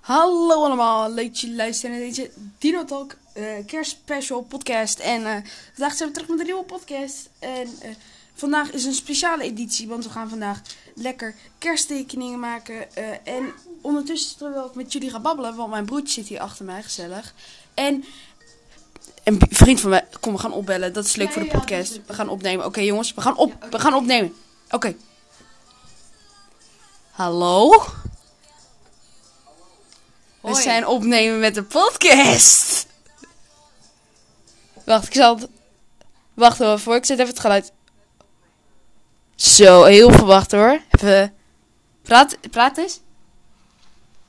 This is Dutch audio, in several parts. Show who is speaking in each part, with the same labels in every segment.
Speaker 1: Hallo allemaal, leuk dat jullie luisteren naar deze Dino Talk eh, kerstspecial podcast. En eh, vandaag zijn we terug met een nieuwe podcast. En eh, vandaag is een speciale editie, want we gaan vandaag lekker kersttekeningen maken. Eh, en ondertussen terwijl ik met jullie ga babbelen, want mijn broertje zit hier achter mij, gezellig. En een vriend van mij, kom we gaan opbellen, dat is leuk
Speaker 2: Ja,
Speaker 1: voor de
Speaker 2: ja, ja,
Speaker 1: podcast.
Speaker 2: dat is leuk.
Speaker 1: we gaan opnemen, oké jongens, we gaan, op, we gaan opnemen. Oké. Hallo? We
Speaker 2: Hoi.
Speaker 1: zijn opnemen met de podcast. Wacht, ik zal het... Wacht hoor, voor ik zet even het geluid... Zo, heel verwacht hoor. Even... Praat, praat eens.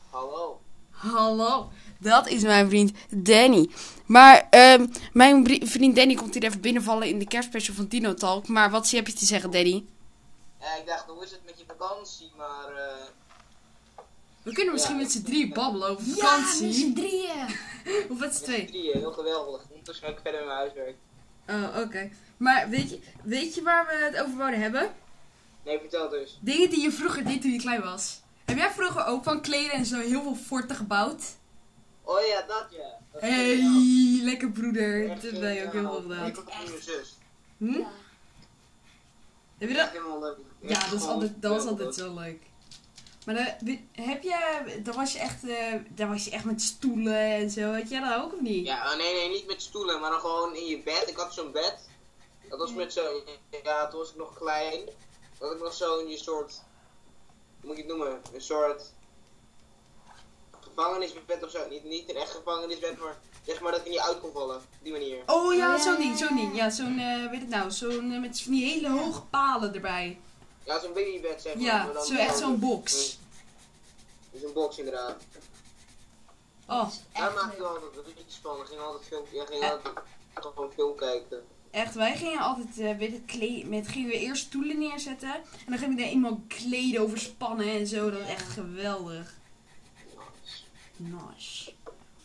Speaker 3: Hallo.
Speaker 2: Hallo.
Speaker 1: Dat is mijn vriend Danny. Maar ehm, mijn bri- vriend Danny komt hier even binnenvallen in de kerstspecial van Dino Talk. Maar wat heb je te zeggen, Danny?
Speaker 3: Ja, ik dacht, hoe is het met je vakantie? Maar eh,
Speaker 1: We kunnen
Speaker 3: misschien met
Speaker 1: z'n drie babbelen over
Speaker 2: Ja, met z'n drieën.
Speaker 1: of met z'n
Speaker 3: met drieën, heel geweldig. Ondertussen ook verder met mijn huiswerk.
Speaker 1: Oh, oké. Maar weet je, weet je waar we het over wouden hebben?
Speaker 3: Nee, vertel dus.
Speaker 1: Dingen die je vroeger deed toen je klein was. Heb jij vroeger ook van kleden en zo heel veel forten gebouwd?
Speaker 3: Oh ja, dat ja. Dat is
Speaker 1: Hey,
Speaker 3: geniaal.
Speaker 1: lekker broeder. Dat
Speaker 3: Echt
Speaker 1: heb jij ook heel veel
Speaker 3: geniaal.
Speaker 1: gedaan.
Speaker 3: Ik ook van mijn zus.
Speaker 1: Hm?
Speaker 2: Ja.
Speaker 1: Heb je
Speaker 3: Echt
Speaker 1: dat?
Speaker 3: helemaal leuk.
Speaker 1: Ja,
Speaker 3: Echt
Speaker 1: dat, is
Speaker 3: gewoon
Speaker 1: altijd, dat was
Speaker 3: geweldig.
Speaker 1: altijd zo leuk. Maar eh, wie- heb je, daar was je echt, eh, daar was je echt met stoelen en zo. Had jij dat ook of niet?
Speaker 3: Ja, oh, nee, nee, niet met stoelen, maar dan gewoon in je bed. Ik had zo'n bed. Dat was met zo'n... Ja, toen was ik nog klein. Dat ik nog zo'n je soort... Hoe moet je het noemen? Een soort... Gevangenisbed of zo. Niet, niet een echt gevangenisbed, maar zeg maar dat ik er niet uit kon vallen. Op die manier.
Speaker 1: Oh ja,
Speaker 2: Ja.
Speaker 1: zo'n ding, zo'n ding. Ja, zo'n, eh, weet het nou, zo'n eh, met van die hele hoge palen erbij.
Speaker 3: Ja, zo'n babybed zeg maar. maar
Speaker 1: Ja,
Speaker 3: dan-
Speaker 1: zo echt zo'n box.
Speaker 3: Dus een box inderdaad.
Speaker 1: Oh,
Speaker 3: Daar
Speaker 2: Echt
Speaker 3: maakte ik
Speaker 2: leuk.
Speaker 3: altijd liedjes van. Dan ging altijd film, ja, ging altijd gewoon film kijken.
Speaker 1: Echt, wij gingen altijd eh, weet het, kle- met, gingen we eerst stoelen neerzetten. En dan gingen we daar iemand kleden overspannen en zo. Dat was echt geweldig. Nice.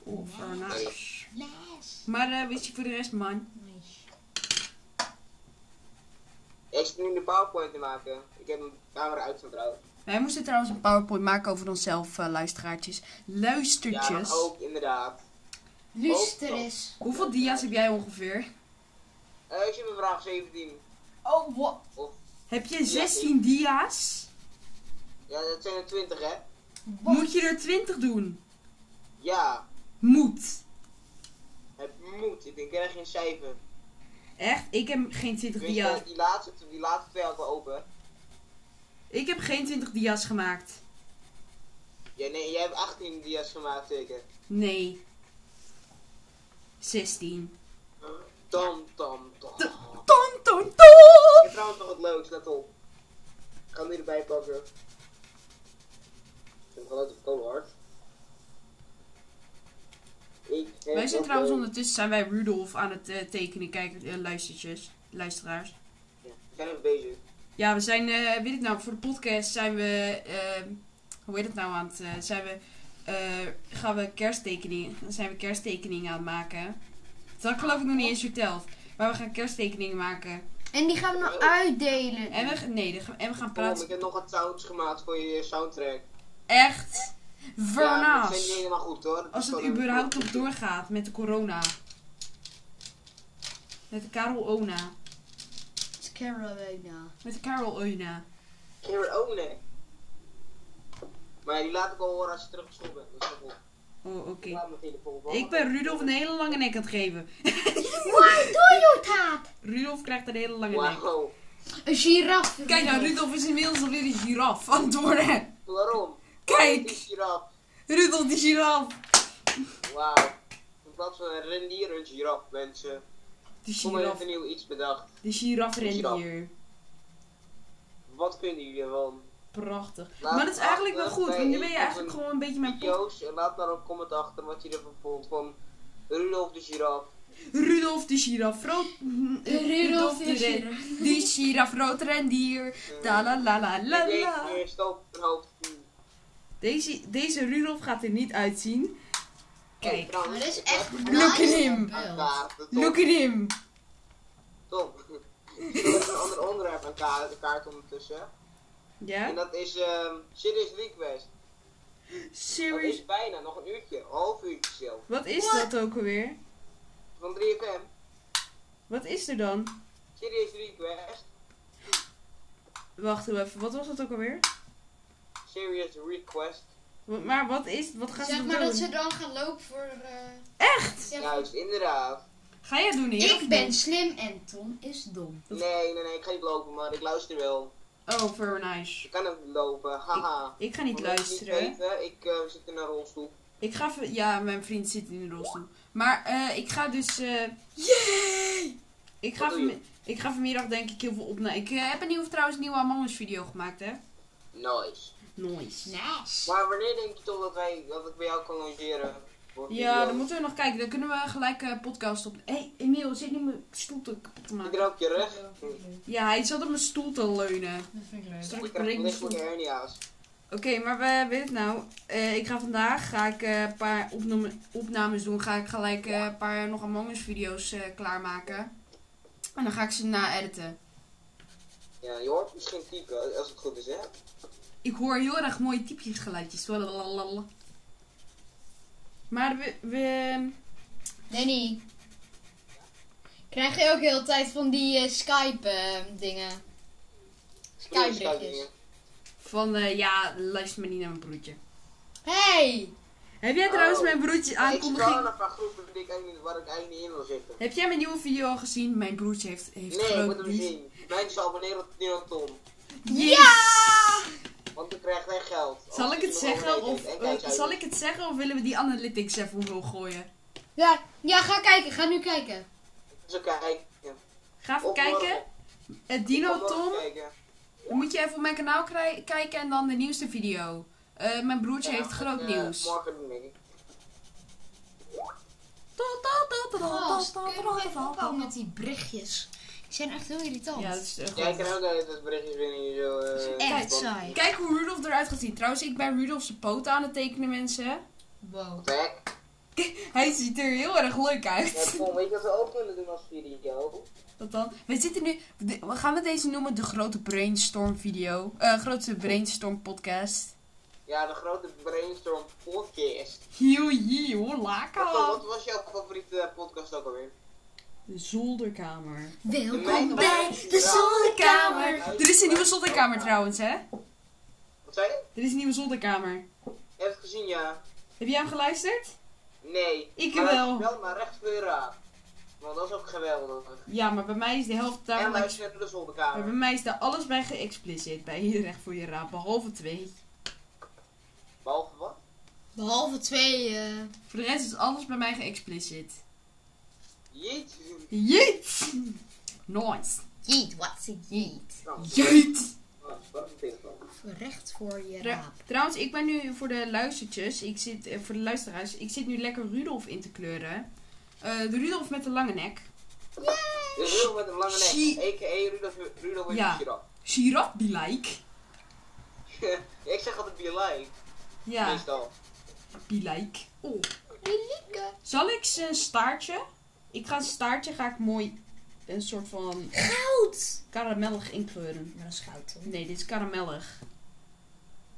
Speaker 1: Over nice.
Speaker 2: Nice.
Speaker 1: Maar eh, wist je voor de rest, man?
Speaker 2: Nice.
Speaker 3: Ja, ik zit nu de powerpoint te maken. Ik heb mijn camera uitgezet trouwens.
Speaker 1: Wij moesten trouwens een powerpoint maken over onszelf, eh, luisteraartjes.
Speaker 3: Ja,
Speaker 1: Luistertjes.
Speaker 3: dat ook inderdaad.
Speaker 2: Luister eens.
Speaker 1: Hoeveel dia's heb jij ongeveer?
Speaker 3: Eh, ik zit bij vraag 17.
Speaker 2: Oh, wat?
Speaker 1: Heb je 16 dia's?
Speaker 3: Ja, dat zijn er 20 hè?
Speaker 1: Moet je er 20 doen?
Speaker 3: Ja,
Speaker 1: Moet.
Speaker 3: het moet. Ik denk, ik krijg geen cijfer.
Speaker 1: Echt? Ik heb geen 20
Speaker 3: Weet je,
Speaker 1: dia's.
Speaker 3: die laatste, die laatste twee had ik wel open.
Speaker 1: Ik heb geen 20 dia's gemaakt.
Speaker 3: Ja, nee, jij hebt 18 dia's gemaakt zeker.
Speaker 1: Nee. 16.
Speaker 3: Tom, tom, tom.
Speaker 1: T-
Speaker 3: Ik
Speaker 1: Ton, ton, ton!
Speaker 3: heb trouwens nog wat leuks, let op. Ik ga hem nu erbij pakken. Ik heb geluid op kolen hard. Ik heb
Speaker 1: Wij zijn
Speaker 3: wat
Speaker 1: trouwens
Speaker 3: leuks.
Speaker 1: ondertussen zijn wij Rudolf aan het eh, tekenen, kijk, eh, luistertjes, luisteraars.
Speaker 3: Ja, we zijn even bezig.
Speaker 1: Ja, we zijn, eh, weet het nou, voor de podcast zijn we, eh, hoe heet het nou aan het, eh, zijn we, eh, gaan we kersttekeningen, zijn we kersttekeningen aan het maken. Dat had ik geloof ik nog niet eens verteld. Maar we gaan kersttekeningen maken.
Speaker 2: En die gaan we nog uitdelen.
Speaker 1: En we, nee, dan gaan- en we gaan
Speaker 3: Tom,
Speaker 1: praten.
Speaker 3: Oh, ik heb nog wat sounds gemaakt voor je soundtrack.
Speaker 1: Echt?
Speaker 3: Ja, dat zijn niet
Speaker 1: Vernaas.
Speaker 3: helemaal goed hoor.
Speaker 1: Als het
Speaker 3: is wel een-
Speaker 1: überhaupt nog doorgaat met de corona. Met de Karel Ona.
Speaker 2: Carolina.
Speaker 1: Met de Karel Ona.
Speaker 3: Keer ook nee. Maar ja, die laat ik al horen als je teruggestopt bent. Dat is wel goed.
Speaker 1: Oh, oké.
Speaker 3: Ik laat mijn telefoon wel.
Speaker 1: Ik ben Rudolf een hele lange nek aan het geven.
Speaker 2: Why do you that?
Speaker 1: Rudolf krijgt een hele lange nek.
Speaker 3: Wauw.
Speaker 2: Een giraf.
Speaker 1: Kijk nou, Rudolf is inmiddels alweer een giraf aan het worden.
Speaker 3: Waarom?
Speaker 1: Kijk.
Speaker 3: Het is Giraf.
Speaker 1: Rudolf die giraf.
Speaker 3: Wauw. In plaats van een rendier, een giraf, mensen.
Speaker 1: Die
Speaker 3: Kom maar
Speaker 1: giraf.
Speaker 3: even nieuw iets bedacht.
Speaker 1: Die giraf rendier.
Speaker 3: Wat vinden jullie ervan?
Speaker 1: Prachtig.
Speaker 3: Laat
Speaker 1: Maar dat is eigenlijk wel
Speaker 3: achter
Speaker 1: goed,
Speaker 3: bij
Speaker 1: want nu
Speaker 3: een
Speaker 1: ben je
Speaker 3: van
Speaker 1: eigenlijk
Speaker 3: de
Speaker 1: gewoon een beetje mijn pot.
Speaker 3: Video's en laat daar een comment achter wat je ervan vond van Rudolf de giraf.
Speaker 1: Rudolf de giraf rood.
Speaker 2: Rudolf de
Speaker 1: ren-
Speaker 2: giraf.
Speaker 1: Die giraf rood rendier. Da la la la la
Speaker 3: ik
Speaker 1: la.
Speaker 3: denk Eh, eerst op een hoofd. Hmm.
Speaker 1: Deze, deze Rudolf gaat er niet uitzien.
Speaker 3: Oh,
Speaker 1: Kijk.
Speaker 3: trouwens,
Speaker 2: Maar dat is
Speaker 3: ik
Speaker 2: echt
Speaker 3: heb
Speaker 1: Look at
Speaker 2: nice
Speaker 1: him.
Speaker 3: Aan
Speaker 2: beeld.
Speaker 3: kaarten, top.
Speaker 1: Look at him.
Speaker 3: Top. Er is een ander onderwerp aan kaart, kaart ondertussen.
Speaker 1: Ja?
Speaker 3: En dat is ehm Serious Request. Dat
Speaker 1: Serious.
Speaker 3: is bijna, nog een uurtje, half uurtje zelf.
Speaker 1: Wat is
Speaker 2: What?
Speaker 1: dat ook alweer?
Speaker 3: Van 3FM,
Speaker 1: Wat is er dan?
Speaker 3: Serious Request,
Speaker 1: Wacht even, wat was dat ook alweer?
Speaker 3: Serious Request.
Speaker 1: Wa- Maar wat is, wat gaat
Speaker 2: Zeg
Speaker 1: ze
Speaker 2: maar
Speaker 1: doen?
Speaker 2: dat ze dan gaan lopen voor... eh,
Speaker 1: Echt?
Speaker 2: zeg-
Speaker 3: Juist, Nou, inderdaad.
Speaker 1: Ga jij doen hier?
Speaker 2: ik ben slim en Tom is dom.
Speaker 3: Nee, nee, nee, ik ga niet lopen, maar ik luister wel.
Speaker 1: Oh, very nice.
Speaker 3: Ik kan ook niet lopen, haha.
Speaker 1: Ik ga niet
Speaker 3: Omdat je
Speaker 1: luisteren.
Speaker 3: Niet weten, ik eh, zit in een rolstoel.
Speaker 1: Ik ga even, ja, mijn vriend zit in de rolstoel. Maar eh, ik ga dus, eh ik ga,
Speaker 3: Wat doe je?
Speaker 1: vanmi- ik ga vanmiddag denk ik heel veel opnemen. Ik eh, heb een nieuwe, trouwens een nieuwe Among Us video gemaakt, hè?
Speaker 3: Nice.
Speaker 1: Nice.
Speaker 2: Nice.
Speaker 3: Maar wanneer denk je toch dat, wij, dat ik bij jou kan logeren? Voor
Speaker 1: Ja, dan
Speaker 3: video's?
Speaker 1: moeten we nog kijken. Dan kunnen we gelijk eh, podcast op. Hé, hey, Emiel, zit niet mijn stoel te kapot te
Speaker 3: Zit
Speaker 1: maken.
Speaker 3: er ook je rug?
Speaker 1: Ja, hij zat op mijn stoel te leunen.
Speaker 2: Dat vind ik leuk.
Speaker 1: Straks breek
Speaker 3: Ik krijg
Speaker 1: ik mijn stoel.
Speaker 3: lichtelijke hernia's.
Speaker 1: Oké, maar we weet het nou. Eh, ik ga vandaag ga ik, eh, een paar opname, opnames doen. Ga ik gelijk eh, een paar nog Among Us video's eh, klaarmaken. En dan ga ik ze na-editen.
Speaker 3: Ja, je hoort misschien typen, als het goed is, hè?
Speaker 1: Ik hoor heel erg mooie typjesgeluidjes. Lalalala. Maar we, we...
Speaker 2: Danny. Krijg je ook heel de tijd van die eh, Skype eh, dingen? Skype berichtjes.
Speaker 1: Van, eh, ja, luister maar niet naar mijn broertje.
Speaker 2: Hey!
Speaker 1: Heb jij trouwens
Speaker 3: Oh.
Speaker 1: mijn broertje
Speaker 3: Ik scroll
Speaker 1: aankondiging...
Speaker 3: een paar groepen die ik eigenlijk niet- waar ik eigenlijk niet in wil zitten.
Speaker 1: Heb jij mijn nieuwe video al gezien? Mijn broertje heeft, heeft
Speaker 3: Nee, ik
Speaker 1: groot
Speaker 3: moet hem
Speaker 1: lief.
Speaker 3: zien. Mensen abonneren op Nino Tom.
Speaker 1: Yes!
Speaker 3: Want dan krijgt hij geld.
Speaker 1: Zal
Speaker 3: Als
Speaker 1: ik
Speaker 3: hij
Speaker 1: het
Speaker 3: hem
Speaker 1: zeggen
Speaker 3: abonneert
Speaker 1: of
Speaker 3: en
Speaker 1: eh,
Speaker 3: kijkt uit.
Speaker 1: zal ik het zeggen of willen we die analytics even omhoog gooien?
Speaker 2: Ja, ja, ga kijken, ga nu kijken.
Speaker 3: Dus oké, kijk. Ja.
Speaker 1: Ga even
Speaker 3: Of
Speaker 1: kijken.
Speaker 3: morgen.
Speaker 1: Het
Speaker 3: Ik kan
Speaker 1: Dino
Speaker 3: morgen
Speaker 1: Tom.
Speaker 3: kijken.
Speaker 1: Dan moet je even op mijn kanaal krij- kijken en dan de nieuwste video. Eh, mijn broertje
Speaker 3: Ja,
Speaker 1: heeft
Speaker 3: ga ik,
Speaker 1: groot
Speaker 3: eh,
Speaker 1: nieuws.
Speaker 3: Morgen doen, denk ik.
Speaker 2: Gast, kun je nog even ophouden met die berichtjes? Die zijn echt heel irritant.
Speaker 1: Ja, dat is eh, echt
Speaker 3: Ja, ik kan ook dat het berichtjes binnen hier zo. eh,
Speaker 2: echt
Speaker 3: van-
Speaker 2: saai.
Speaker 1: Kijk hoe Rudolf eruit gaat zien. Trouwens, ik ben Rudolf zijn poot aan het tekenen, mensen.
Speaker 2: Wow.
Speaker 3: Kijk,
Speaker 1: Hij ziet er heel erg leuk
Speaker 3: ja,
Speaker 1: uit.
Speaker 3: Tom, weet je wat we ook kunnen doen als video?
Speaker 1: Wat dan? We zitten nu... de- we gaan we deze noemen? De grote brainstorm video. Eh, grote brainstorm podcast.
Speaker 3: Ja, de grote brainstorm podcast.
Speaker 1: Hieu, hieu, hoor,
Speaker 3: Wat, wat
Speaker 1: laka.
Speaker 3: was jouw favoriete eh, podcast ook alweer?
Speaker 1: De zolderkamer.
Speaker 2: Welkom
Speaker 3: Mijn-
Speaker 2: bij de zonnekamer.
Speaker 1: Er is een nieuwe zolderkamer trouwens, hè?
Speaker 3: Wat zei je?
Speaker 1: Er is een nieuwe zolderkamer.
Speaker 3: Heb je het gezien, ja?
Speaker 1: Heb jij hem geluisterd?
Speaker 3: Nee.
Speaker 1: Ik
Speaker 3: maar
Speaker 1: wel.
Speaker 3: Wel, maar recht voor je raap. Want dat is ook geweldig.
Speaker 1: Ja, maar bij mij is de helft
Speaker 3: en
Speaker 1: daarvan...
Speaker 3: luister naar de
Speaker 1: Maar bij
Speaker 3: zolderkamer.
Speaker 1: mij is daar alles bij geëxpliceerd. Bij hier recht voor je raap, behalve twee.
Speaker 3: Behalve wat?
Speaker 2: Behalve twee. eh,
Speaker 1: Voor de rest is alles bij mij geëxplicit.
Speaker 3: Jeet.
Speaker 1: Jeet! Nice.
Speaker 2: jeet, wat ze jeet.
Speaker 3: Nou,
Speaker 1: Jeet!
Speaker 3: Ah, Wat is dit dan?
Speaker 2: Recht voor je
Speaker 1: Tra-
Speaker 2: raap.
Speaker 1: trouwens, ik ben nu voor de luistertjes, ik zit, eh, voor de luisteraars, ik zit nu lekker Rudolf in te kleuren. Eh, de Rudolf met de lange nek.
Speaker 3: Dus Rudolf met een lange
Speaker 1: Shit.
Speaker 3: nek. A.k.a. Rudolf, Rudolf met
Speaker 1: Ja.
Speaker 3: een giraf.
Speaker 1: Giraf die like.
Speaker 3: ik zeg altijd be like.
Speaker 1: Ja,
Speaker 3: Meestal.
Speaker 1: die like. Oh.
Speaker 2: Lilieke.
Speaker 1: Zal ik zijn staartje? Ik ga zijn staartje ga ik mooi een soort van
Speaker 2: Goud.
Speaker 1: karamellig inkleuren.
Speaker 2: Maar dat is goud, hoor.
Speaker 1: Nee, dit is karamellig.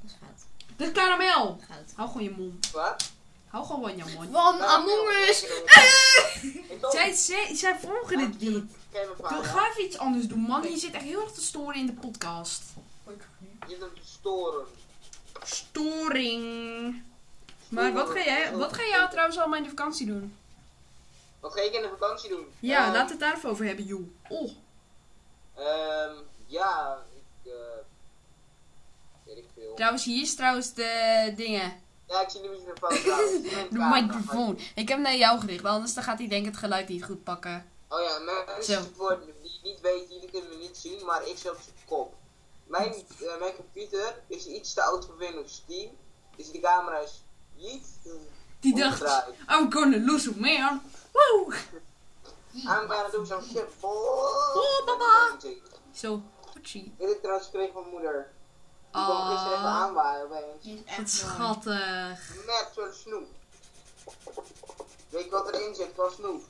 Speaker 2: Dat is goud.
Speaker 1: Dit is karamel!
Speaker 2: Goud.
Speaker 1: Hou gewoon je mond.
Speaker 3: Wat?
Speaker 1: Hou gewoon je mond.
Speaker 2: Van Among Us.
Speaker 1: Ah, Zij, zij, zij volgen dit niet. Doe,
Speaker 3: Je
Speaker 1: ga even iets anders doen, man. Je zit echt heel erg te storen in de podcast.
Speaker 3: zit hem te storen.
Speaker 1: Storing. Maar wat ga jij, wat ga jij trouwens allemaal in de vakantie doen?
Speaker 3: Wat ga ik in de vakantie doen?
Speaker 1: Ja,
Speaker 3: Ehm,
Speaker 1: laat het daar even over hebben, joh. Oh,
Speaker 3: Ehm, ja, ik, eh, weet ik veel.
Speaker 1: trouwens, hier is trouwens de dingen.
Speaker 3: Ja, ik zie de microfoon trouwens.
Speaker 1: De microfoon. Ik heb hem naar jou gericht, want anders dan gaat hij denk ik het geluid niet goed pakken.
Speaker 3: Oh ja, mensen
Speaker 1: Zo.
Speaker 3: die voor- die het niet weten, jullie kunnen het niet zien, maar ik zit op zijn kop. Mijn, eh, mijn computer is iets te oud voor Windows 10, dus die camera is niet...
Speaker 1: Die dacht,
Speaker 3: omgedraaid.
Speaker 1: I'm gonna lose it, man. Woe!
Speaker 3: I'm gonna do some shit for...
Speaker 1: Oh, papa. Zo, Gucci.
Speaker 3: Dit is trouwens gekregen van moeder. Die
Speaker 1: Ah.
Speaker 3: kwam gisteren even aanwaaien opeens.
Speaker 2: Dit is
Speaker 1: Wat
Speaker 2: echt mooi.
Speaker 1: schattig.
Speaker 3: Met zo'n snoep. Weet je wat erin zit qua snoep?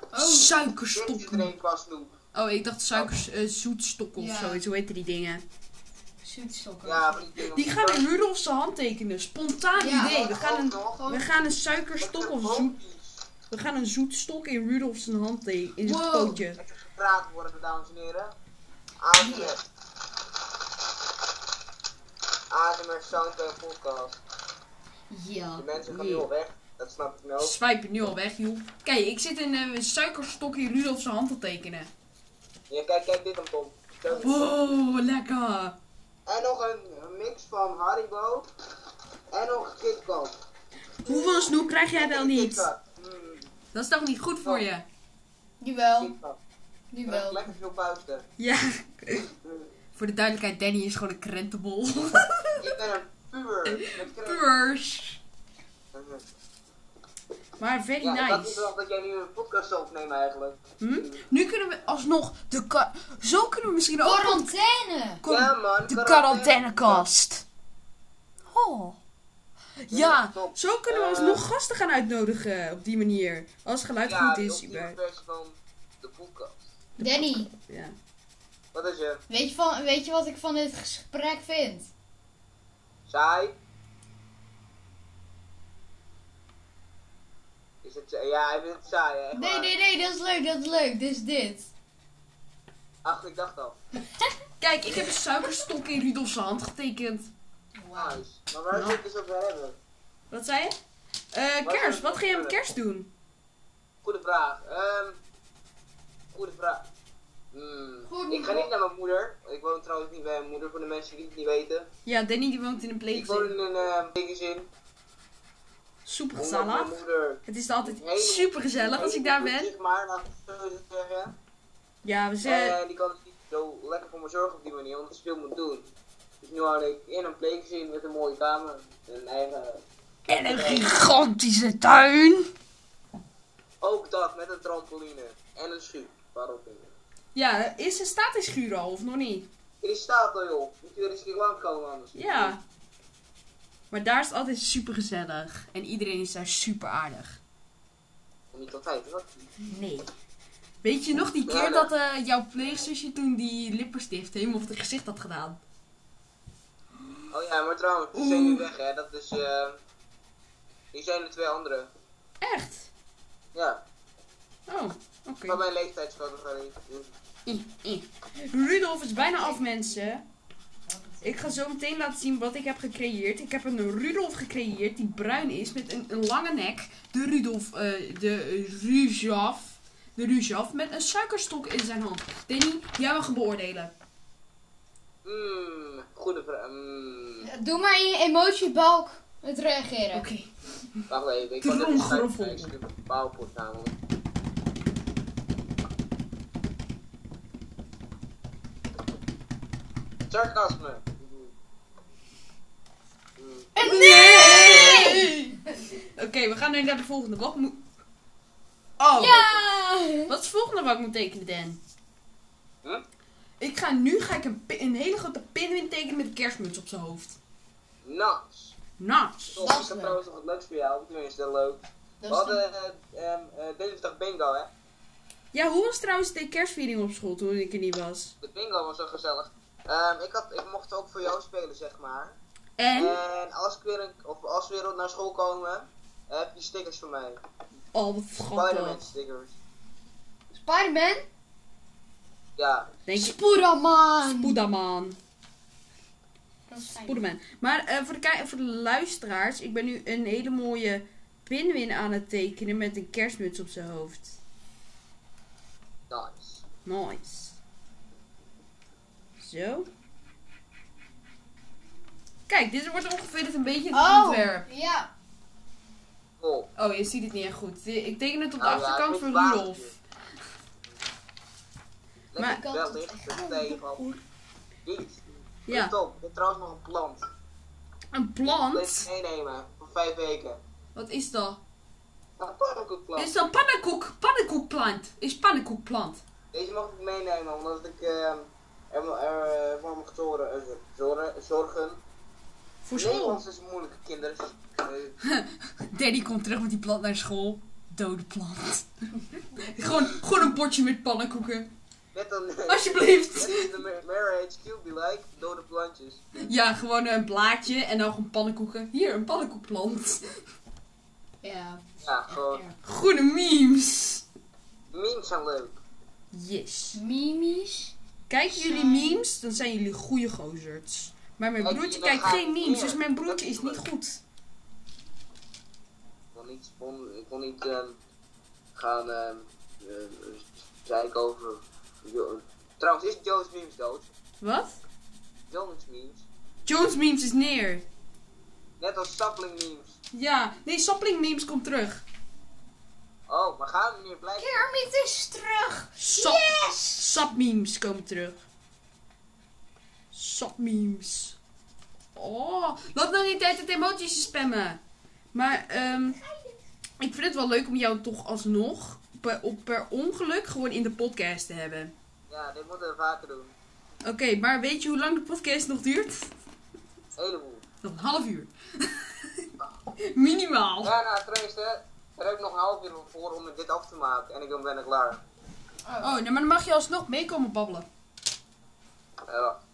Speaker 1: Oh.
Speaker 3: Dit zit
Speaker 1: Suikerstokken.
Speaker 3: erin qua snoep.
Speaker 1: Oh, ik dacht suikers, eh, zoetstokken of
Speaker 2: Ja.
Speaker 1: zoiets. Hoe heette die dingen?
Speaker 2: zoetstokken.
Speaker 3: Ja, van die dingen.
Speaker 1: Die gaan weer Rudolf zijn hand tekenen. Spontaan
Speaker 2: Ja,
Speaker 1: idee. We
Speaker 3: dat
Speaker 1: gaan, een,
Speaker 3: ook nog.
Speaker 1: we gaan een suikerstok
Speaker 3: Dat
Speaker 1: of
Speaker 3: de
Speaker 1: zoet,
Speaker 3: boompjes
Speaker 1: we gaan een zoetstok in Rudolf zijn hand tekenen. In zijn
Speaker 2: Wow.
Speaker 1: pootje.
Speaker 3: Even gepraat worden, dames en heren. ASMR. ASMR Soundtrack Podcast.
Speaker 2: Ja.
Speaker 3: De mensen gaan
Speaker 1: Nee.
Speaker 3: nu al weg. Dat snap ik nou. ook.
Speaker 1: Swipe nu al weg, joh. Kijk, ik zit in een suikerstok in Rudolf zijn hand te tekenen.
Speaker 3: Ja, kijk, kijk dit dan, Tom. Kijk.
Speaker 1: Wow, lekker.
Speaker 3: En nog een een mix van Haribo. En nog KitKat.
Speaker 1: Hoeveel snoep krijg jij dan niet?
Speaker 3: KitKat. Mm,
Speaker 1: Dat is toch niet goed voor je? Oh,
Speaker 2: Jawel,
Speaker 3: KitKat. Ik krijg
Speaker 2: jawel.
Speaker 3: lekker veel pauze.
Speaker 1: Ja.
Speaker 3: Mm.
Speaker 1: Voor de duidelijkheid, Danny is gewoon een krentenbol.
Speaker 3: Ik ben een puur. Met kruim.
Speaker 1: Puurs. Maar very
Speaker 3: Ja, dat is
Speaker 1: nice.
Speaker 3: wel dat jij nu een podcast zou opnemen eigenlijk.
Speaker 1: Hm? Nu kunnen we alsnog de ka- Zo kunnen we misschien ook...
Speaker 2: Quarantaine!
Speaker 1: Kom,
Speaker 3: Ja, man,
Speaker 1: de
Speaker 3: quarantaine.
Speaker 1: quarantainekast. Oh. Ja,
Speaker 3: top.
Speaker 1: zo kunnen we
Speaker 3: Eh.
Speaker 1: alsnog gasten gaan uitnodigen op die manier. Als het geluid goed
Speaker 3: de
Speaker 1: is.
Speaker 3: ultieme
Speaker 1: überhaupt.
Speaker 3: versie van de podcast.
Speaker 2: Danny,
Speaker 1: Ja.
Speaker 3: Wat is je?
Speaker 2: weet je, van, weet je wat ik van dit gesprek vind?
Speaker 3: Saai? Is het, ja, hij vindt het saai, hè? echt
Speaker 2: Nee,
Speaker 3: waar.
Speaker 2: nee, nee, dat is leuk, dat is leuk. Dus dit.
Speaker 3: Ach, ik dacht al.
Speaker 1: Kijk, ik heb een suikerstok in Rudolf's hand getekend.
Speaker 3: Nice. Maar waar
Speaker 1: Nou.
Speaker 3: zou ik het dus over hebben?
Speaker 1: Wat zei je? Eh,
Speaker 3: Wat
Speaker 1: kerst,
Speaker 3: is-
Speaker 1: wat ga je met kerst doen?
Speaker 3: Goede vraag. Ehm goede vraag. Hmm.
Speaker 2: Goed,
Speaker 3: ik ga
Speaker 2: mo-
Speaker 3: niet naar mijn moeder. Ik woon trouwens niet bij mijn moeder, voor de mensen die het niet weten.
Speaker 1: Ja, Danny die woont in een
Speaker 3: Ik woon
Speaker 1: pleegzin.
Speaker 3: in een uh, tegenzin.
Speaker 1: Soepige
Speaker 3: Omdat mijn
Speaker 1: salade.
Speaker 3: moeder...
Speaker 1: Het is altijd
Speaker 3: Hele-
Speaker 1: super gezellig als ik daar ben.
Speaker 3: Zeg maar, laat ik het zo zeggen.
Speaker 1: Ja, we zijn.
Speaker 3: En die kan dus niet zo lekker voor me zorgen op die manier, omdat ze veel moet doen. Dus nu had ik in een pleegzin met een mooie kamer. Een eigen...
Speaker 1: Eh, En een
Speaker 3: Eh.
Speaker 1: gigantische tuin.
Speaker 3: Ook dat, met een trampoline. En een schuur. Waarop in.
Speaker 1: Ja, is er staat in schuur al, of nog niet?
Speaker 3: In die staat al joh. Moet je er eens een keer lang komen anders.
Speaker 1: Ja. Maar daar is het altijd super gezellig. En iedereen is daar super aardig.
Speaker 3: Om niet altijd, wat?
Speaker 1: Nee. Weet je nog die keer dat eh, jouw pleegzusje toen die lippenstift helemaal op het gezicht had gedaan?
Speaker 3: Oh ja, maar trouwens, die zijn nu weg hè. Dat is eh... Die zijn de twee anderen.
Speaker 1: Echt?
Speaker 3: Ja,
Speaker 1: Oh, oké.
Speaker 3: van mijn leeftijdscategorie.
Speaker 1: I, I. Rudolf is bijna af, mensen. Ik ga zo meteen laten zien wat ik heb gecreëerd. Ik heb een Rudolf gecreëerd die bruin is met een, een lange nek. De Rudolf, eh, de Ruzaf. De Ruzaf met een suikerstok in zijn hand. Danny, jij mag hem beoordelen.
Speaker 3: Mmm, goede vraag. Mmm,
Speaker 2: Doe maar in je emotiebalk het reageren.
Speaker 1: Oké.
Speaker 3: wacht even. Ik
Speaker 1: Droom,
Speaker 3: kan even
Speaker 1: groffel.
Speaker 3: Ik zit op een bouwpot namelijk. Sarcasme. Mm.
Speaker 1: Nee! Oké, we gaan nu naar de volgende. Wat moet... Oh.
Speaker 2: Ja!
Speaker 1: Wat is het volgende wat ik moet tekenen, Dan?
Speaker 3: Huh?
Speaker 1: Ik ga nu ga ik een, pi- een hele grote pinwin tekenen met een kerstmuts op zijn hoofd.
Speaker 3: Nice.
Speaker 1: Nice.
Speaker 3: Top,
Speaker 2: Dat is
Speaker 3: ik heb
Speaker 2: leuk.
Speaker 3: trouwens nog wat leuks voor jou. Tenminste, leuk. We
Speaker 2: Dat is
Speaker 3: hadden eh, ehm, eh, dinsdag bingo, hè?
Speaker 1: Ja, hoe was trouwens de kerstviering op school toen ik er niet was?
Speaker 3: De bingo was zo gezellig. Ehm, ik, had, ik mocht ook voor jou spelen, zeg maar.
Speaker 1: En?
Speaker 3: En als, ik weer een, of als we weer naar school komen, heb je stickers van mij.
Speaker 1: Oh, wat grappig.
Speaker 3: Spider-Man stickers.
Speaker 2: Spider-Man?
Speaker 3: Ja.
Speaker 1: Denk je,
Speaker 2: Spoederman!
Speaker 1: Poedaman.
Speaker 2: Dat is fijn.
Speaker 1: Poederman. Maar eh, voor, de kei- voor de luisteraars, ik ben nu een hele mooie pinwin aan het tekenen met een kerstmuts op zijn hoofd.
Speaker 3: Nice.
Speaker 1: Nice. Zo. Kijk, dit wordt ongeveer het een beetje het
Speaker 2: Oh!
Speaker 1: ontwerp.
Speaker 2: Ja.
Speaker 3: Cool.
Speaker 1: Oh, je ziet het niet echt goed. Ik teken het op de
Speaker 3: Nou ja,
Speaker 1: achterkant
Speaker 3: ik
Speaker 1: voor
Speaker 3: weet waar
Speaker 1: Rudolf.
Speaker 3: het is.
Speaker 1: Maar-
Speaker 3: Lekker wel dicht er tegen. Niet.
Speaker 1: Ja,
Speaker 3: Top. Ik heb trouwens nog een plant.
Speaker 1: een
Speaker 3: Ik wil deze
Speaker 1: plant.
Speaker 3: meenemen voor vijf weken.
Speaker 1: Wat is dat?
Speaker 3: Een pannenkoekplant.
Speaker 1: Is dat pannenkoek? Pannenkoekplant. Is pannenkoekplant.
Speaker 3: Deze mag ik meenemen omdat ik ehm er, er, eh, voor mag zorgen. eh, zorgen- zorgen.
Speaker 1: Voor school.
Speaker 3: Nederlands is Eh, moeilijk, kinderen.
Speaker 1: Daddy komt terug met die plant naar school. Dode plant. gewoon, gewoon een potje met pannenkoeken.
Speaker 3: Net dan.
Speaker 1: Alsjeblieft.
Speaker 3: de marriage cute be like dode plantjes.
Speaker 1: Ja, gewoon een blaadje en dan gewoon pannenkoeken. Hier, een pannenkoekplant.
Speaker 2: Ja.
Speaker 3: Ja, gewoon.
Speaker 2: ja.
Speaker 1: Goede memes.
Speaker 3: Memes zijn leuk.
Speaker 1: Yes.
Speaker 2: Mimis.
Speaker 1: Kijken jullie memes, dan zijn jullie goede gozers. Maar mijn broertje kijkt geen memes, dus mijn broertje is niet goed.
Speaker 3: Ik kon niet, spon- ik kon niet ehm, gaan ehm eh, zeiken over. Jo- Trouwens, is Jones memes dood?
Speaker 1: Wat?
Speaker 3: Jones memes.
Speaker 1: Jones memes is neer.
Speaker 3: Net als sapling memes.
Speaker 1: Ja, nee, sapling memes komt terug.
Speaker 3: Oh, maar gaan we meer blijven?
Speaker 2: Kermit is terug.
Speaker 1: Sap,
Speaker 2: Yes!
Speaker 1: sap memes komen terug. Sap memes. Oh, laat nou niet tijd het emoties te spammen. Maar ehm, ik vind het wel leuk om jou toch alsnog per, op, per ongeluk gewoon in de podcast te hebben.
Speaker 3: Ja, dit moeten we vaker doen.
Speaker 1: Oké, maar weet je hoe lang de podcast nog duurt?
Speaker 3: Een heleboel.
Speaker 1: Nog een half uur. Minimaal.
Speaker 3: Ja, nou, trouwens, hè, er heb ik nog een half uur voor om dit af te maken. En ik ben bijna klaar.
Speaker 1: Oh, nou, maar dan mag je alsnog meekomen babbelen.
Speaker 3: Eh, wacht.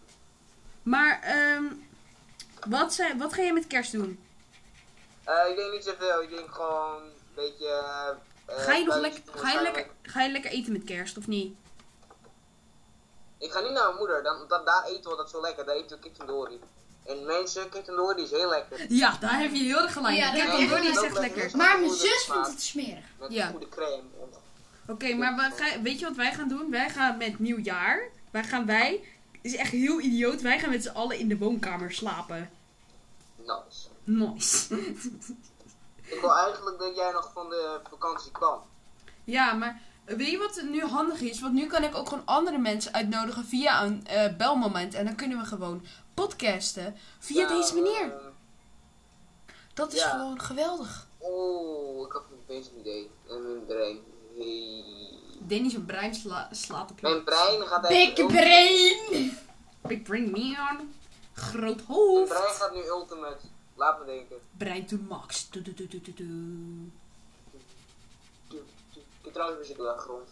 Speaker 1: Maar ehm, wat, zei, wat ga je met kerst doen?
Speaker 3: Eh, ik denk niet zoveel. Ik denk gewoon een beetje. eh, eh,
Speaker 1: Ga je nog
Speaker 3: buiten
Speaker 1: lekker,
Speaker 3: spelen,
Speaker 1: ga je
Speaker 3: samen
Speaker 1: lekker, ga je lekker eten met kerst of niet?
Speaker 3: Ik ga niet naar mijn moeder, dan, dan, daar eten we dat zo lekker. Daar eten we kitchendori. En mensen, kitchendori is heel lekker.
Speaker 1: Ja, daar heb je heel erg gelijk.
Speaker 2: Ja,
Speaker 1: Ja,
Speaker 2: dat
Speaker 1: Kijk,
Speaker 2: heb
Speaker 1: dan
Speaker 2: je
Speaker 1: Donnie
Speaker 2: echt
Speaker 1: is echt
Speaker 3: gelijk.
Speaker 1: lekker.
Speaker 2: Maar mijn zus vindt het smerig.
Speaker 3: Met
Speaker 1: Ja.
Speaker 3: goede crème. En,
Speaker 1: Oké, maar we gaan- weet je wat wij gaan doen? Wij gaan met nieuwjaar, wij gaan wij, is echt heel idioot, wij gaan met z'n allen in de woonkamer slapen.
Speaker 3: nice.
Speaker 1: Nice.
Speaker 3: Ik wil eigenlijk dat jij nog van de vakantie kwam.
Speaker 1: Ja, maar weet je wat nu handig is? Want nu kan ik ook gewoon andere mensen uitnodigen via een eh, belmoment. En dan kunnen we gewoon podcasten via
Speaker 3: Nou,
Speaker 1: deze manier.
Speaker 3: eh,
Speaker 1: Dat is
Speaker 3: ja.
Speaker 1: gewoon geweldig.
Speaker 3: Oeh, Oh, ik had niet eens een idee. En mijn brein. Hey.
Speaker 1: Danny zijn brein sla- slaat op
Speaker 3: Mijn brein gaat
Speaker 2: Big
Speaker 3: even.
Speaker 2: brain.
Speaker 1: Big brain me on. Groot
Speaker 3: Mijn
Speaker 1: hoofd.
Speaker 3: brein gaat nu ultimate. Laat me denken.
Speaker 1: Brein to max. Du- du- du- du- du- du.
Speaker 3: Ik heb trouwens muziek op de achtergrond.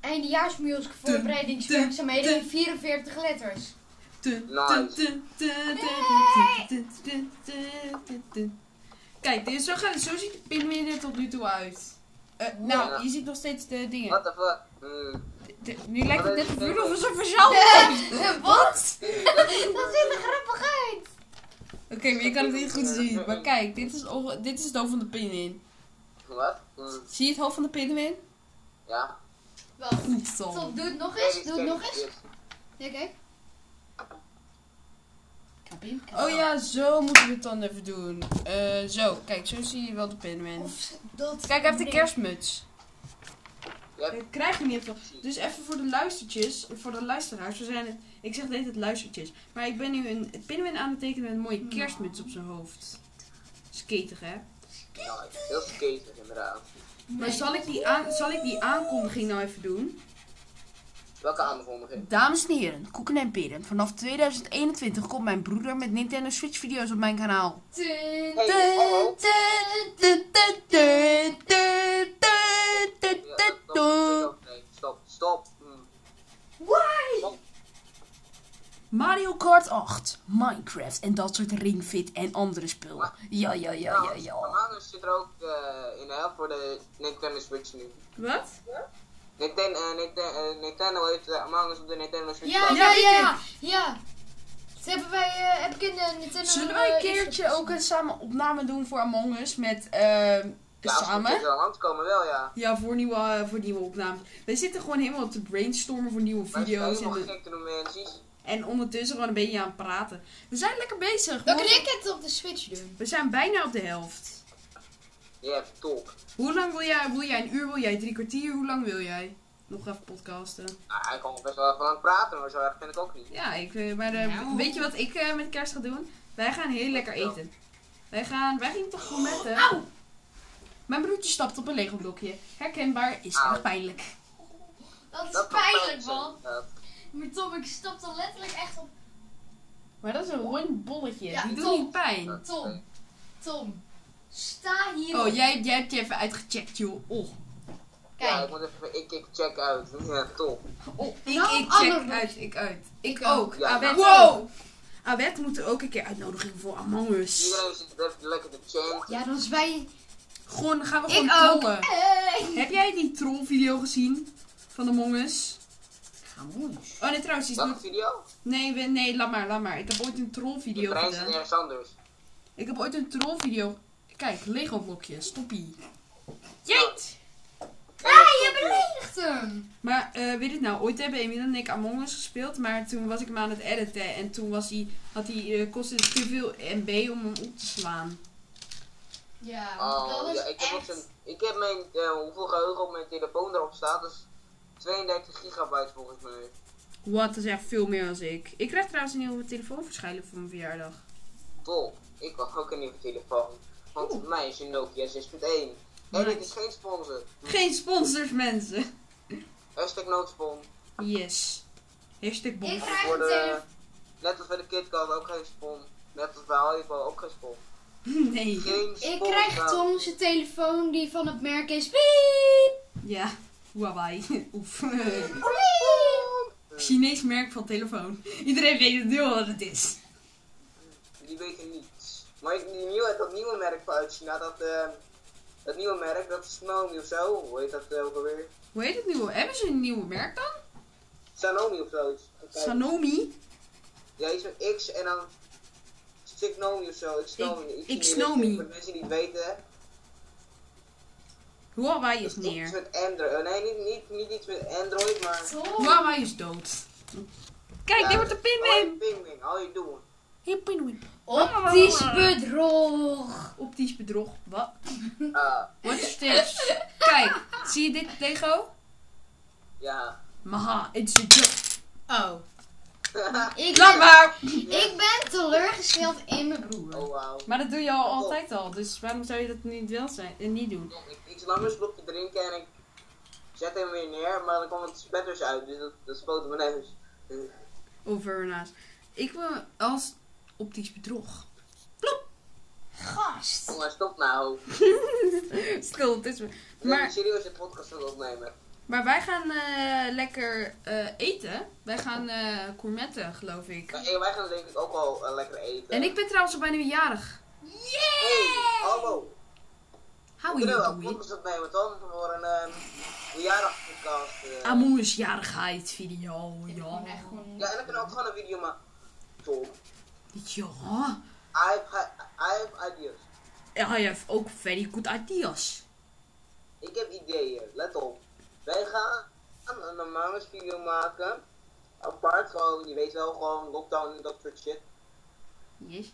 Speaker 2: Eindejaarsmusic voorbereidingswerkzaamheden in 44 letters.
Speaker 1: Dun,
Speaker 3: Nice.
Speaker 1: dun, dun, dun, dun, dun, dun, dun, dun, dun. Kijk, dit is zo, gaat, zo ziet de pinwin er tot nu toe uit. Eh, nou,
Speaker 3: Ja.
Speaker 1: je ziet nog steeds de dingen.
Speaker 3: What the fuck? Hmm.
Speaker 1: De- nu lijkt het
Speaker 3: Wat
Speaker 1: net
Speaker 3: is
Speaker 1: een
Speaker 3: dit?
Speaker 1: vuur of een verzaal.
Speaker 2: Wat? Dat ziet er grappig uit.
Speaker 1: Oké, maar je kan het niet goed zien. Maar kijk, dit is, onge- dit is het hoofd van de pinwin.
Speaker 3: Wat? Hmm.
Speaker 1: Zie je het hoofd van de pinwin?
Speaker 3: Ja.
Speaker 2: Wacht.
Speaker 1: Goed zo.
Speaker 2: Stop, doe het nog eens. Doe het nog eens.
Speaker 3: Yes.
Speaker 2: Ja, kijk. Kabim, kabim.
Speaker 1: Oh ja, zo moeten we het dan even doen. Eh, zo, kijk, zo zie je wel de pinwin.
Speaker 2: Of dat
Speaker 1: Kijk, hij heeft een
Speaker 2: Nee.
Speaker 1: kerstmuts.
Speaker 3: Ja.
Speaker 1: Dat krijg je niet even. Dus even voor de luistertjes, voor de luisteraars. We zijn het, ik zeg deed het luistertjes. Maar ik ben nu een pinwin aan het tekenen met een mooie kerstmuts op zijn hoofd. Skatig, hè?
Speaker 3: Ja, Nou, heel skater inderdaad.
Speaker 1: Maar zal ik, die aan, zal ik die aankondiging nou even doen?
Speaker 3: Welke aankondiging?
Speaker 1: Dames en heren, koeken en peren. Vanaf 2021 komt mijn broeder met Nintendo Switch video's op mijn kanaal.
Speaker 2: Tun,
Speaker 3: Hey,
Speaker 2: tun,
Speaker 3: hallo.
Speaker 2: tun.
Speaker 3: Ja, dat- dat- Nee, stop, stop. Hmm.
Speaker 1: Why? Mario Kart 8, Minecraft en dat soort ringfit en andere spullen. Ja, ja, ja, ja,
Speaker 3: Nou,
Speaker 1: ja.
Speaker 3: Manus zit er ook eh, in de helft voor de Nintendo Switch nu.
Speaker 1: Wat?
Speaker 3: Nintendo, eh, Nintendo, eh, Nintendo heeft de Among Us op de Nintendo Switch.
Speaker 2: Ja,
Speaker 3: gehad.
Speaker 2: ja,
Speaker 1: weet
Speaker 2: ja. Ja. Dat hebben wij, eh, heb ik in de Nintendo...
Speaker 1: Zullen wij een
Speaker 2: eh,
Speaker 1: keertje
Speaker 2: Instagram.
Speaker 1: ook een samen opname doen voor Among Us met ehm
Speaker 3: Ja, als het
Speaker 1: samen?
Speaker 3: goed is aan de hand komen wel, ja.
Speaker 1: Ja, voor nieuwe, eh, voor nieuwe opnames. We zitten gewoon helemaal te brainstormen voor nieuwe
Speaker 3: Maar het is
Speaker 1: video's. En,
Speaker 3: helemaal
Speaker 1: we-
Speaker 3: gek te doen, mensen.
Speaker 1: en ondertussen gewoon een beetje aan het praten. We zijn lekker bezig.
Speaker 2: Dan
Speaker 1: hoor.
Speaker 2: kan ik het op de Switch doen.
Speaker 1: We zijn bijna op de helft.
Speaker 3: Je hebt top.
Speaker 1: Hoe lang wil jij? Wil jij een uur? Wil jij drie kwartier? Hoe lang wil jij? Nog even podcasten.
Speaker 3: Nou, hij kan best wel even lang praten, maar zo erg vind ik ook niet.
Speaker 1: Ja, ik, eh, maar eh,
Speaker 2: Nou.
Speaker 1: weet je wat ik eh, met kerst ga doen? Wij gaan heel lekker eten. Wij gaan, wij gingen toch gourmetten. Mijn broertje stapt op een Lego blokje. Herkenbaar is
Speaker 3: Auw.
Speaker 1: erg pijnlijk.
Speaker 2: Dat is
Speaker 3: Dat kan
Speaker 2: pijnlijk,
Speaker 3: zijn,
Speaker 2: man.
Speaker 3: inderdaad.
Speaker 2: Maar Tom, ik stap er letterlijk echt op.
Speaker 1: Maar dat is een rond bolletje.
Speaker 2: Ja,
Speaker 1: Die doet
Speaker 2: toch.
Speaker 1: niet pijn.
Speaker 3: Dat-
Speaker 2: Tom, Tom, sta hier.
Speaker 1: Oh, jij, jij hebt je even uitgecheckt, joh. Oh.
Speaker 3: Ja, ik
Speaker 2: Kijk.
Speaker 3: moet even, ik kijk check uit. Ja, top.
Speaker 1: Oh, ik,
Speaker 2: nou,
Speaker 1: ik check
Speaker 2: ander- Oh,
Speaker 1: uit, ik uit. Ik
Speaker 2: Ik
Speaker 1: ook.
Speaker 3: Ja.
Speaker 1: Awet
Speaker 4: Wow.
Speaker 1: ook. Awet moet er ook een keer uitnodigen voor Among Us.
Speaker 3: Iedereen zit even lekker te chanten.
Speaker 2: Ja, dan zwij
Speaker 1: Gewoon, dan gaan we gewoon
Speaker 2: Ik ook.
Speaker 1: trollen.
Speaker 2: Hey.
Speaker 1: Heb jij die trollvideo gezien van Among Us?
Speaker 2: Ga moeilijk.
Speaker 1: Oh nee, trouwens, die is
Speaker 3: Welke
Speaker 1: nog...
Speaker 3: video?
Speaker 1: Nee, we- nee, laat maar, laat maar. Ik heb ooit een
Speaker 3: De
Speaker 1: trollvideo
Speaker 3: brein zit
Speaker 1: gedaan.
Speaker 3: ergens anders.
Speaker 1: Ik heb ooit een trollvideo... Kijk, Lego blokjes, toppie. Jeet!
Speaker 2: Ah, je beledigt hem.
Speaker 1: Maar eh, weet het nou, ooit hebben Emil en ik Among Us gespeeld, maar toen was ik hem aan het editen en toen was hij, had hij, eh, kostte het te veel MB om hem op te slaan.
Speaker 2: Ja,
Speaker 3: Oh,
Speaker 2: dat is
Speaker 3: ja, ik heb, ook
Speaker 2: echt...
Speaker 3: zo'n- ik heb mijn, eh, hoeveel geheugen op mijn telefoon erop staat, dus 32 gigabyte volgens mij.
Speaker 1: Wat, dat is echt veel meer dan ik. Ik krijg trouwens een nieuwe telefoon verschijnen voor mijn verjaardag.
Speaker 3: Top. Ik wacht ook een nieuwe telefoon. Want
Speaker 1: Oeh.
Speaker 3: mij is een Nokia 6.1. En
Speaker 1: Nice.
Speaker 3: dit is geen sponsor.
Speaker 1: Geen sponsors, mensen!
Speaker 3: Hashtag noodspon.
Speaker 1: Yes. Hashtag bom.
Speaker 2: Ik krijg
Speaker 3: Voor
Speaker 2: een
Speaker 3: de,
Speaker 2: telefoon.
Speaker 3: net als bij de KitKat ook geen spon. Net als bij Haribo ook geen spon.
Speaker 1: Nee.
Speaker 3: Geen spon.
Speaker 2: Ik krijg
Speaker 3: nou.
Speaker 2: Tom zijn telefoon die van het merk is. Piep.
Speaker 1: Ja, Huawei. Oef.
Speaker 2: Piep.
Speaker 1: Chinees merk van telefoon. Iedereen weet het nu al wat het is.
Speaker 3: Die weten niets. Maar ik- die nieuwe, dat nieuwe merk vanuit China, dat, eh, dat nieuwe merk, dat is Naomi of zo. Hoe heet dat eh, ook alweer?
Speaker 1: Hoe heet het nu? Hebben ze een nieuw merk dan?
Speaker 3: Sanomi of zo. iets. Kijk,
Speaker 1: Sanomi?
Speaker 3: Ja, iets met X en dan Signomi of zo. Xnomi.
Speaker 1: Ik-
Speaker 3: iets in die
Speaker 1: Xnomi.
Speaker 3: richting. Voor de mensen die het weten.
Speaker 1: Huawei is
Speaker 3: Iets
Speaker 1: neer.
Speaker 3: met Android. eh, nee, niet, niet, niet iets met Android, maar...
Speaker 2: Tom.
Speaker 1: Huawei is dood. Kijk,
Speaker 3: Ja,
Speaker 1: dit wordt de
Speaker 3: Oh,
Speaker 1: pinwin.
Speaker 3: Pinguin, hou je doen.
Speaker 1: Hey, pinwin.
Speaker 2: Optisch bedrog.
Speaker 1: Optisch bedrog. Wat?
Speaker 3: Ah,
Speaker 1: What's this? Kijk, zie je dit, Lego?
Speaker 3: ja.
Speaker 1: Maha, it's a joke.
Speaker 2: Oh. Ik
Speaker 1: Laat
Speaker 2: ben,
Speaker 1: maar.
Speaker 2: ik ben teleurgesteld in mijn broer.
Speaker 3: Oh, wauw.
Speaker 1: Maar dat doe je al altijd al, dus waarom zou je dat niet wel zijn en niet doen?
Speaker 3: Ik, ik nam een slokje drinken en ik zet hem weer neer, maar dan kwam het spetters uit, dus dat, dat spoot op mijn neus.
Speaker 1: Over naast. Ik wil als optisch bedrog.
Speaker 2: Gast.
Speaker 3: Jongens, stop nou.
Speaker 1: Stil, het is me.
Speaker 3: We
Speaker 1: Maar,
Speaker 3: zijn serieus een podcast aan het opnemen.
Speaker 1: maar wij gaan eh, lekker eh, eten. Wij gaan eh gourmetten, geloof ik.
Speaker 3: Maar, eh, wij gaan denk ik ook al eh, lekker eten.
Speaker 1: En ik ben trouwens al bijna weer jarig.
Speaker 3: Hey, hallo.
Speaker 1: How
Speaker 3: We kunnen wel
Speaker 1: you
Speaker 3: een
Speaker 1: doing?
Speaker 3: podcast opnemen, Tom, voor een ehm verjaardag podcast. eh.
Speaker 1: Amoes jarigheid video, ja.
Speaker 3: Oh.
Speaker 2: Gewoon echt Oh, gewoon-
Speaker 3: ja, en dan kunnen we ook gewoon een video maken. Tom, I
Speaker 1: Ja,
Speaker 3: have, I have ideas.
Speaker 1: I have ook very good ideas.
Speaker 3: Ik heb ideeën, let op. Wij gaan een normale video maken. Apart gewoon, je weet wel, gewoon lockdown en dat soort shit.
Speaker 1: Yes.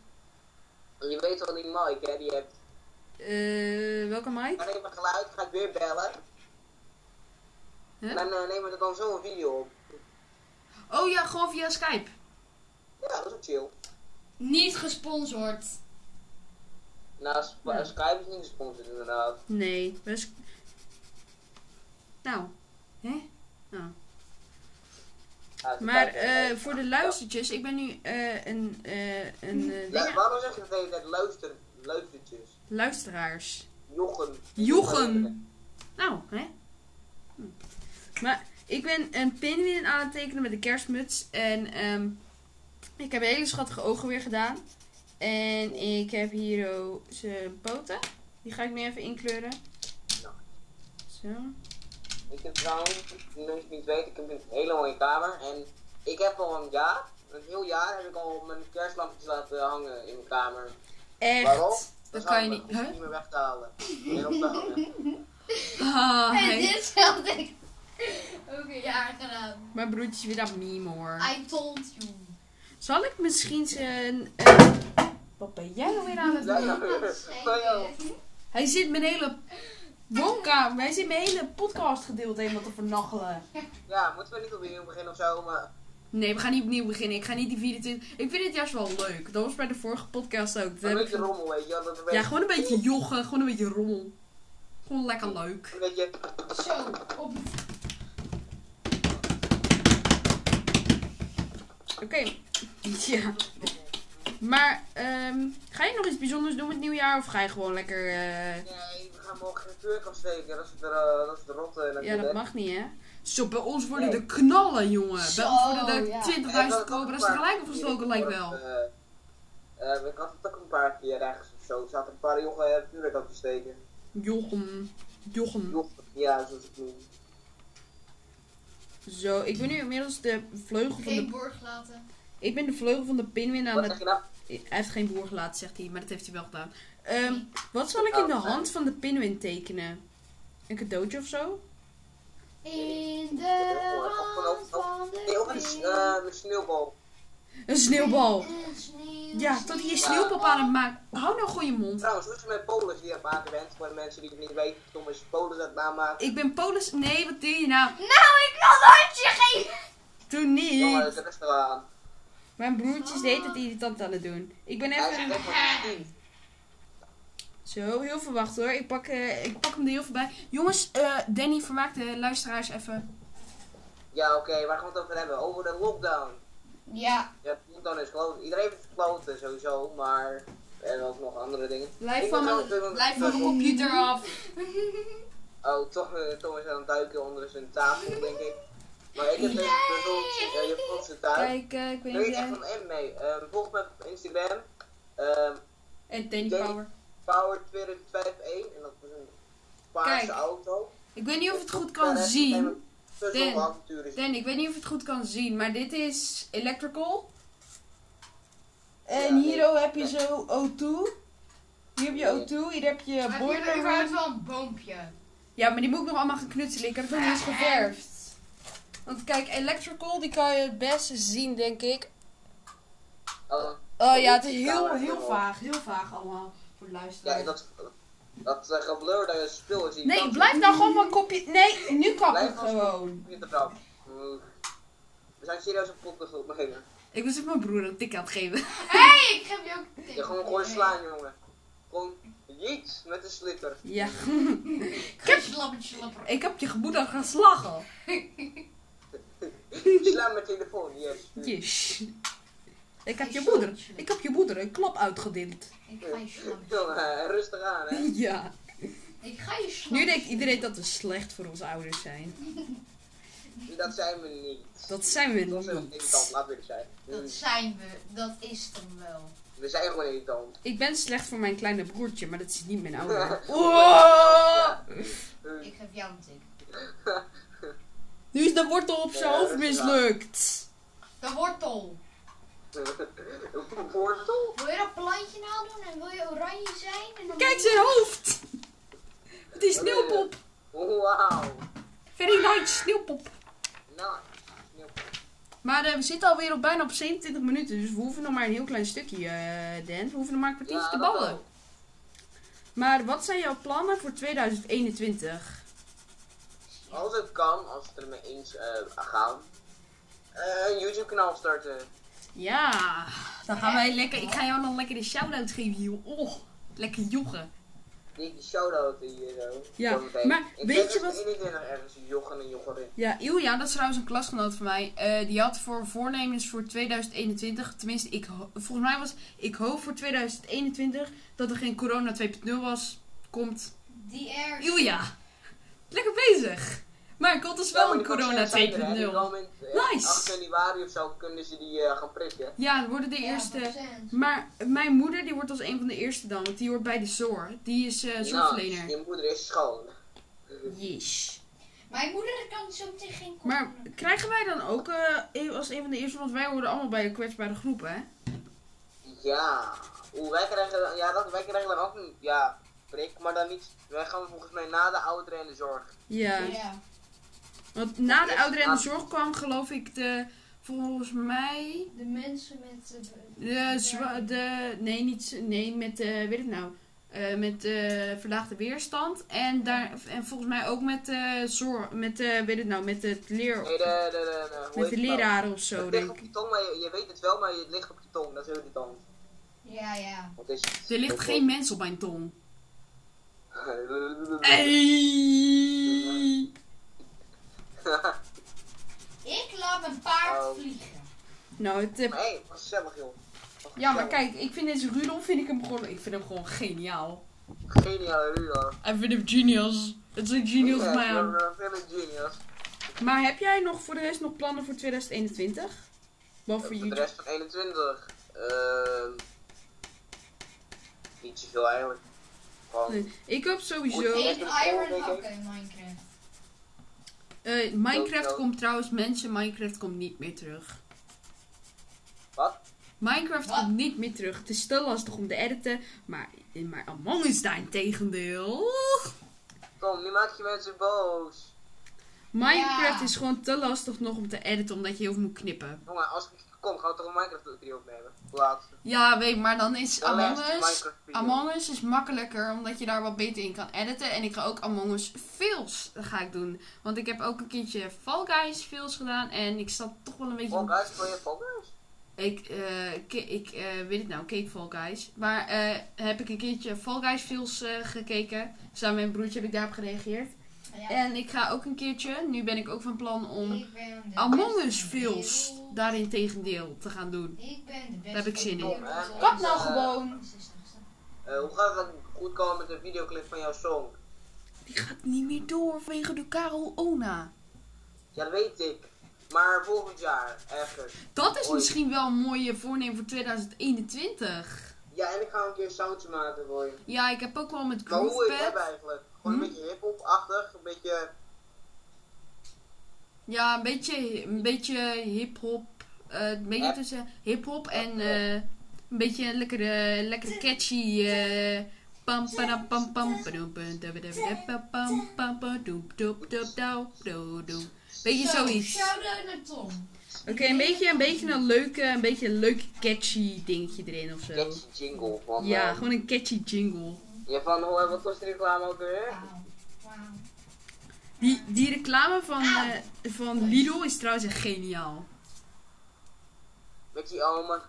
Speaker 3: En Je weet wel die mic, hè, die hebt.
Speaker 1: Eh, welke mic?
Speaker 3: Dan neem ik geluid, ga ik weer bellen.
Speaker 1: Huh?
Speaker 3: En dan eh, nemen we dan zo'n video op.
Speaker 1: Oh ja, gewoon via Skype.
Speaker 3: Ja, dat is ook chill.
Speaker 2: Niet gesponsord.
Speaker 3: Nou, Sp-
Speaker 1: Ja.
Speaker 3: Skype is niet gesponsord inderdaad.
Speaker 1: Nee, best. Nou, hè? Nou.
Speaker 3: Ja,
Speaker 1: Maar
Speaker 3: Skype is-
Speaker 1: eh, voor de luistertjes, ik ben nu eh, een, eh, een eh,
Speaker 3: Ja,
Speaker 1: dingen-
Speaker 3: waarom zeg je dat de hele tijd luister, luistertjes?
Speaker 1: luisteraars.
Speaker 3: Jochen.
Speaker 1: Jochen! Nou, hè? Hm. Maar ik ben een pinwin aan het tekenen met een kerstmuts. En ehm, ik heb hele schattige ogen weer gedaan. En ik heb hier oh, zijn poten. Die ga ik nu even inkleuren. Zo.
Speaker 3: Ik heb trouwens, voor mensen die het weten, ik heb een hele mooie kamer. En ik heb al een jaar, een heel jaar heb ik al mijn kerstlampjes laten hangen in mijn kamer.
Speaker 1: Echt.
Speaker 3: Waarom?
Speaker 1: Dat
Speaker 3: is
Speaker 1: kan je
Speaker 3: handig,
Speaker 1: niet. Huh?
Speaker 3: hoef je niet meer weg te halen. En op te hangen.
Speaker 1: Ah,
Speaker 2: En
Speaker 1: hij-
Speaker 2: dit had ik ook een jaar gedaan.
Speaker 1: Mijn broertje is weer dat meme hoor.
Speaker 2: I told you.
Speaker 1: Zal ik misschien zijn. eh, Wat ben jij nou weer aan het
Speaker 3: Ja,
Speaker 1: doen?
Speaker 3: ja. Oh, ja.
Speaker 1: Hij zit mijn hele woonkamer, hij zit mijn hele podcastgedeelte helemaal te vernachelen.
Speaker 3: Ja, moeten we niet opnieuw beginnen of zo, maar
Speaker 1: Nee, we gaan niet opnieuw beginnen. Ik ga niet die 24. Ik vind het juist wel leuk. Dat was bij de vorige podcast ook. Dat
Speaker 3: een
Speaker 1: heb ik
Speaker 3: beetje
Speaker 1: van-
Speaker 3: rommel, weet je wel. Dat een beetje,
Speaker 1: Ja, gewoon een beetje joggen, gewoon een beetje rommel. Gewoon lekker leuk.
Speaker 3: een beetje,
Speaker 2: Zo, op.
Speaker 1: Oké. Ja. Maar ehm, ga je nog iets bijzonders doen met nieuwjaar of ga je gewoon lekker... eh,
Speaker 3: Nee, we gaan morgen geen vuur afsteken. Dat is de, eh, dat is de rotte. en
Speaker 1: Ja, dat
Speaker 3: de-
Speaker 1: mag niet, hè? Zo, bij ons worden de knallen, jongen. Bij ons
Speaker 2: Zo,
Speaker 1: worden de
Speaker 2: ja.
Speaker 1: 20.000
Speaker 3: Ik had het ook
Speaker 1: cobra's
Speaker 3: een paar
Speaker 1: tegelijk
Speaker 3: keer
Speaker 1: opgestoken,
Speaker 3: gehoord,
Speaker 1: lijkt wel.
Speaker 3: eh, eh, ik had het ook een paar keer ergens of zo. Er zaten een paar jongen eh, vuurwerk af te steken.
Speaker 1: Jochem. Jochem.
Speaker 3: Joch, ja, zoals ik noem.
Speaker 1: Zo, ik ben nu inmiddels de vleugel van
Speaker 2: Geen
Speaker 1: de...
Speaker 2: borg laten.
Speaker 1: Ik ben de vleugel van de pinwin aan
Speaker 3: Wat
Speaker 1: het...
Speaker 3: zeg je Hm. nou?
Speaker 1: Hij heeft geen boer gelaten, zegt hij, maar dat heeft hij wel gedaan. Ehm, wat zal ik in de
Speaker 3: Oh,
Speaker 1: hand van de pinwin tekenen? Een cadeautje of zo?
Speaker 2: In de hand van
Speaker 3: Nee, of een,
Speaker 2: de
Speaker 3: s- eh, een sneeuwbal.
Speaker 1: Een sneeuwbal.
Speaker 2: sneeuw.
Speaker 1: Ja, tot hij een sneeuwpop aan het maken... Hou nou gewoon je mond.
Speaker 3: Trouwens, hoe is het met Polen die je aan het maken bent? Voor de mensen die het niet weten, Tom is Polen dat namaken.
Speaker 1: Ik ben Polis... Nee, wat doe je nou?
Speaker 2: Nou, ik wil een handje geven.
Speaker 1: Doe niet!
Speaker 3: Jongen, dat is wel aan.
Speaker 1: Mijn broertjes deed het irritant aan het doen. Ik ben
Speaker 3: Hij is
Speaker 1: even...
Speaker 3: echt van 10.
Speaker 1: Zo, heel veel wacht hoor. Ik pak, eh, ik pak hem er heel veel bij. Jongens, eh, Danny vermaakt de luisteraars even.
Speaker 3: Ja, oké, waar gaan we het over hebben? Over de lockdown.
Speaker 2: Ja,
Speaker 3: Ja, de lockdown is gewoon, iedereen heeft het kloten sowieso, maar er ook nog andere dingen.
Speaker 1: Lijf
Speaker 3: Ik
Speaker 1: van,
Speaker 3: ben
Speaker 1: mijn,
Speaker 3: ook weer aan-
Speaker 1: lijf van mijn computer af.
Speaker 3: Oh, Tom, eh, Tom is aan het duiken onder zijn tafel, denk ik. Maar ik heb een puzzel, eh, je vond ze thuis.
Speaker 1: Kijk, eh, ik weet
Speaker 3: Daar weet
Speaker 1: niet.
Speaker 3: ik echt
Speaker 1: eh,
Speaker 3: van M mee. Ehm, volg me op Instagram, ehm,
Speaker 1: En eh, Danny
Speaker 3: Danny.
Speaker 1: Power.
Speaker 3: Power251, en dat is een paarse
Speaker 1: Kijk.
Speaker 3: auto.
Speaker 1: Ik weet niet of het goed
Speaker 3: Daar
Speaker 1: kan
Speaker 3: heb ik
Speaker 1: zien.
Speaker 3: een puzzel
Speaker 1: Dan.
Speaker 3: avontuur is.
Speaker 1: Dan, ik weet niet of het goed kan zien, maar dit is electrical.
Speaker 3: Ja,
Speaker 1: En
Speaker 3: nee.
Speaker 1: hier oh, heb je zo O2. Hier heb je O2, hier heb je
Speaker 2: maar ik heb
Speaker 1: boiler room.
Speaker 2: überhaupt wel een boompje.
Speaker 1: Ja, maar die moet ik nog allemaal gaan knutselen. Ik heb het nog niet eens geverfd. Want kijk, electrical, die kan je het beste zien, denk ik.
Speaker 3: Oh,
Speaker 1: Oh ja, het is heel, heel vaag. Heel vaag allemaal. Voor de
Speaker 3: ja,
Speaker 1: luisteraars.
Speaker 3: dat, dat eh, geblurde spul is die
Speaker 1: Nee,
Speaker 3: kant-
Speaker 1: blijf nou gewoon mijn kopje... Nee, nu kap
Speaker 3: Blijf
Speaker 1: ik
Speaker 3: nou
Speaker 1: gewoon.
Speaker 3: Niet te trap. Oeh. We zijn serieus een podcast opnemen.
Speaker 1: Ik was even mijn broer een tik aan het geven.
Speaker 2: Hé, hey, ik geef je ook
Speaker 3: Ja, gewoon gewoon slaan, jongen. Gewoon jeet met een slikker.
Speaker 1: Ja.
Speaker 2: Geen slapper, slapper.
Speaker 1: Ik heb je gemoeder gaan slagen.
Speaker 3: Slaan met telefoon, yes.
Speaker 1: Yes. Ik heb je moeder... Ik heb je moeder een klap uitgedeeld.
Speaker 2: Ik ga je slapper.
Speaker 3: Jongen, rustig aan, hè.
Speaker 1: Ja.
Speaker 2: Ik ga je
Speaker 1: Nu
Speaker 2: slapper.
Speaker 1: denkt iedereen dat we slecht voor onze ouders zijn.
Speaker 3: Dat zijn we niet.
Speaker 1: Dat zijn we
Speaker 3: Dat zijn we irritant,
Speaker 1: niet.
Speaker 3: laat weer zijn.
Speaker 2: Dat zijn we. Dat is dan wel.
Speaker 3: We zijn gewoon irritant.
Speaker 1: Ik ben slecht voor mijn kleine broertje, maar dat is niet mijn ouder.
Speaker 3: Oh!
Speaker 2: Ik geef jou een tik.
Speaker 1: Nu is de wortel op zijn hoofd mislukt.
Speaker 2: De wortel.
Speaker 3: Een wortel?
Speaker 2: Wil je dat plantje nou doen en wil je oranje zijn? En dan
Speaker 1: Kijk zijn hoofd! Het is sneeuwpop.
Speaker 3: Wauw.
Speaker 1: Very nice sneeuwpop.
Speaker 3: Nou,
Speaker 1: Maar eh, we zitten alweer op bijna op 27 minuten, dus we hoeven nog maar een heel klein stukje, eh, Dan. We hoeven nog maar een kwartiertje te ballen. Maar wat zijn jouw plannen voor 2021?
Speaker 3: Als het kan, als het er me eens eh gaan. eh, een YouTube kanaal starten.
Speaker 1: Ja, dan gaan wij lekker. Ik ga jou nog lekker de shout-out geven, joh. Oh, lekker jochen.
Speaker 3: Die shout-out hier zo.
Speaker 1: Ja,
Speaker 3: Zometeen.
Speaker 1: maar
Speaker 3: ik
Speaker 1: weet je
Speaker 3: ben
Speaker 1: wat-
Speaker 3: echt 21 ergens Jochen en Jocherin.
Speaker 1: Ja, Ilja, dat is trouwens een klasgenoot van mij. eh, die had voor voornemens voor 2021, tenminste, ik, ho- volgens mij was ik hoop voor 2021 dat er geen corona 2.0 was. Komt
Speaker 2: Die er.
Speaker 1: Ilja. Lekker bezig. Maar er komt dus wel
Speaker 3: Ja, maar
Speaker 1: een
Speaker 3: die
Speaker 1: corona
Speaker 3: vaccins zijn er, hè. Die
Speaker 1: 2.0.
Speaker 3: komen in, eh,
Speaker 1: Nice.
Speaker 3: 8 januari of zo kunnen ze die eh, gaan prikken.
Speaker 1: Ja, er worden de
Speaker 2: Ja,
Speaker 1: eerste.
Speaker 2: procent.
Speaker 1: Maar mijn moeder die wordt als een van de eerste dan, want die hoort bij de zorg. Die is eh
Speaker 3: Nou,
Speaker 1: zorgverlener.
Speaker 3: je moeder is schoon.
Speaker 1: Yes.
Speaker 2: Mijn moeder kan zo meteen geen kop.
Speaker 1: Maar krijgen wij dan ook eh, als een van de eerste, want wij horen allemaal bij de kwetsbare groep, hè?
Speaker 3: Ja. Oeh, wij krijgen, dan- ja, dat, wij krijgen dan ook een ja, prik, maar dan niet. Wij gaan volgens mij na de ouderen en de zorg.
Speaker 2: Ja.
Speaker 1: Want na de ouderen en de zorg kwam, geloof ik, de. Volgens mij.
Speaker 2: De mensen met de...
Speaker 1: De. Zwa, de nee, niet. z- Nee, met. eh weet ik nou. eh, met eh, verlaagde weerstand. En, daar, en volgens mij ook met. eh zorg. Met. eh, weet ik nou. Met het
Speaker 3: Nee,
Speaker 1: leer.
Speaker 3: de, de, de, de, hoe heet
Speaker 1: Met de
Speaker 3: het nou?
Speaker 1: leraren of zo,
Speaker 3: Het ligt
Speaker 1: denk
Speaker 3: op
Speaker 1: ik.
Speaker 3: je tong, maar je, je weet het wel, maar het ligt op je tong. Dat is heel irritant.
Speaker 2: Ja, ja.
Speaker 3: Wat is het?
Speaker 1: Er ligt
Speaker 3: Dat-
Speaker 1: geen mens op mijn tong.
Speaker 3: Hey.
Speaker 1: Hey.
Speaker 2: Ik laat mijn paard
Speaker 3: Oh.
Speaker 2: vliegen.
Speaker 1: Nou, het, eh,
Speaker 3: hey, wat gezellig joh.
Speaker 1: Ja, maar kijk, ik vind deze Rudolf vind ik hem gewoon, ik vind hem gewoon geniaal.
Speaker 3: Geniale Rudolf.
Speaker 1: Hij vindt hem genius. Het is een genius
Speaker 3: Ja,
Speaker 1: man.
Speaker 3: ik ben een genius.
Speaker 1: Maar heb jij nog voor de rest nog plannen voor 2021? Behalve voor
Speaker 3: Voor
Speaker 1: YouTube.
Speaker 3: de rest van 21. Ehm niet zoveel eigenlijk. Gewoon.
Speaker 1: Nee. Ik heb sowieso.
Speaker 3: Moet-
Speaker 2: Eet iron
Speaker 3: Oké.
Speaker 2: hakken in Minecraft.
Speaker 1: eh, Minecraft
Speaker 3: Dodo.
Speaker 1: komt trouwens, mensen, Minecraft komt niet meer terug.
Speaker 3: Wat?
Speaker 1: Minecraft
Speaker 2: Wat?
Speaker 1: komt niet meer terug. Het is te lastig om te editen, maar, eh, maar Among Us daarentegendeel.
Speaker 3: Kom, nu maak je mensen boos.
Speaker 1: Minecraft
Speaker 2: Ja.
Speaker 1: is gewoon te lastig nog om te editen, omdat je heel veel moet knippen.
Speaker 3: Jongen, als ik kom, gaan we toch een Minecraft 3 opnemen? Laatste.
Speaker 1: Ja, weet ik, maar dan is
Speaker 3: De
Speaker 1: Among
Speaker 3: laatste
Speaker 1: Us...
Speaker 3: Minecraft video.
Speaker 1: Among Us is makkelijker, omdat je daar wat beter in kan editen. En ik ga ook Among Us fails ga ik doen. Want ik heb ook een keertje Fall Guys fails gedaan. En ik zat toch wel een beetje...
Speaker 3: Fall Oh, Guys, wil je Fall Guys?
Speaker 1: Ik, eh, ke- ik eh, weet het nou, keek Fall Guys. Maar eh, heb ik een keertje Fall Guys fails eh, gekeken. Samen met mijn broertje heb ik daarop gereageerd.
Speaker 2: Ja,
Speaker 1: En ik ga ook een keertje, nu ben ik ook van plan om
Speaker 2: ik ben de
Speaker 1: Among
Speaker 2: beste
Speaker 1: Us
Speaker 2: van de
Speaker 1: fails
Speaker 2: wereld.
Speaker 1: daarentegeneel te gaan doen.
Speaker 2: Ik ben de beste.
Speaker 1: heb ik zin in.
Speaker 2: van de wereld.
Speaker 3: Kap nou
Speaker 1: gewoon.
Speaker 3: Eh, hoe gaat het goed komen met een videoclip van jouw song?
Speaker 1: Die gaat niet meer door vanwege de Karel Ona.
Speaker 3: Ja, dat weet ik. Maar volgend jaar, ergens.
Speaker 1: Dat is
Speaker 3: Hoi.
Speaker 1: misschien wel een mooie voornemen voor 2021.
Speaker 3: Ja, en ik ga een keer soundje maken voor je.
Speaker 1: Ja, ik heb ook wel met
Speaker 3: Maar hoe ik heb
Speaker 1: Groovepad.
Speaker 3: eigenlijk. Gewoon
Speaker 1: Hm?
Speaker 3: een beetje hip-hop-achtig, een beetje...
Speaker 1: Ja, een beetje, een beetje hip-hop. eh, een beetje
Speaker 3: App.
Speaker 1: tussen hip-hop en eh, een beetje een lekkere, lekkere catchy. eh, pam, padam, pam, pam, padoem, pam, da, ba, da, ba, da, pa, pam, pam, padoem, doep, doep, douw, doe, doe. Beetje zoiets.
Speaker 2: Shout-out naar Tom.
Speaker 1: Oké, een, beetje, een beetje een leuke, een beetje een leuk catchy dingetje erin of zo.
Speaker 3: Catchy jingle van...
Speaker 1: Ja,
Speaker 3: eh,
Speaker 1: gewoon een catchy jingle.
Speaker 3: Ja, van... Oh, wat was die reclame ook weer?
Speaker 2: Wauw. Wauw.
Speaker 1: Die, die reclame van, eh, van Lidl is trouwens echt geniaal.
Speaker 3: Met die oma.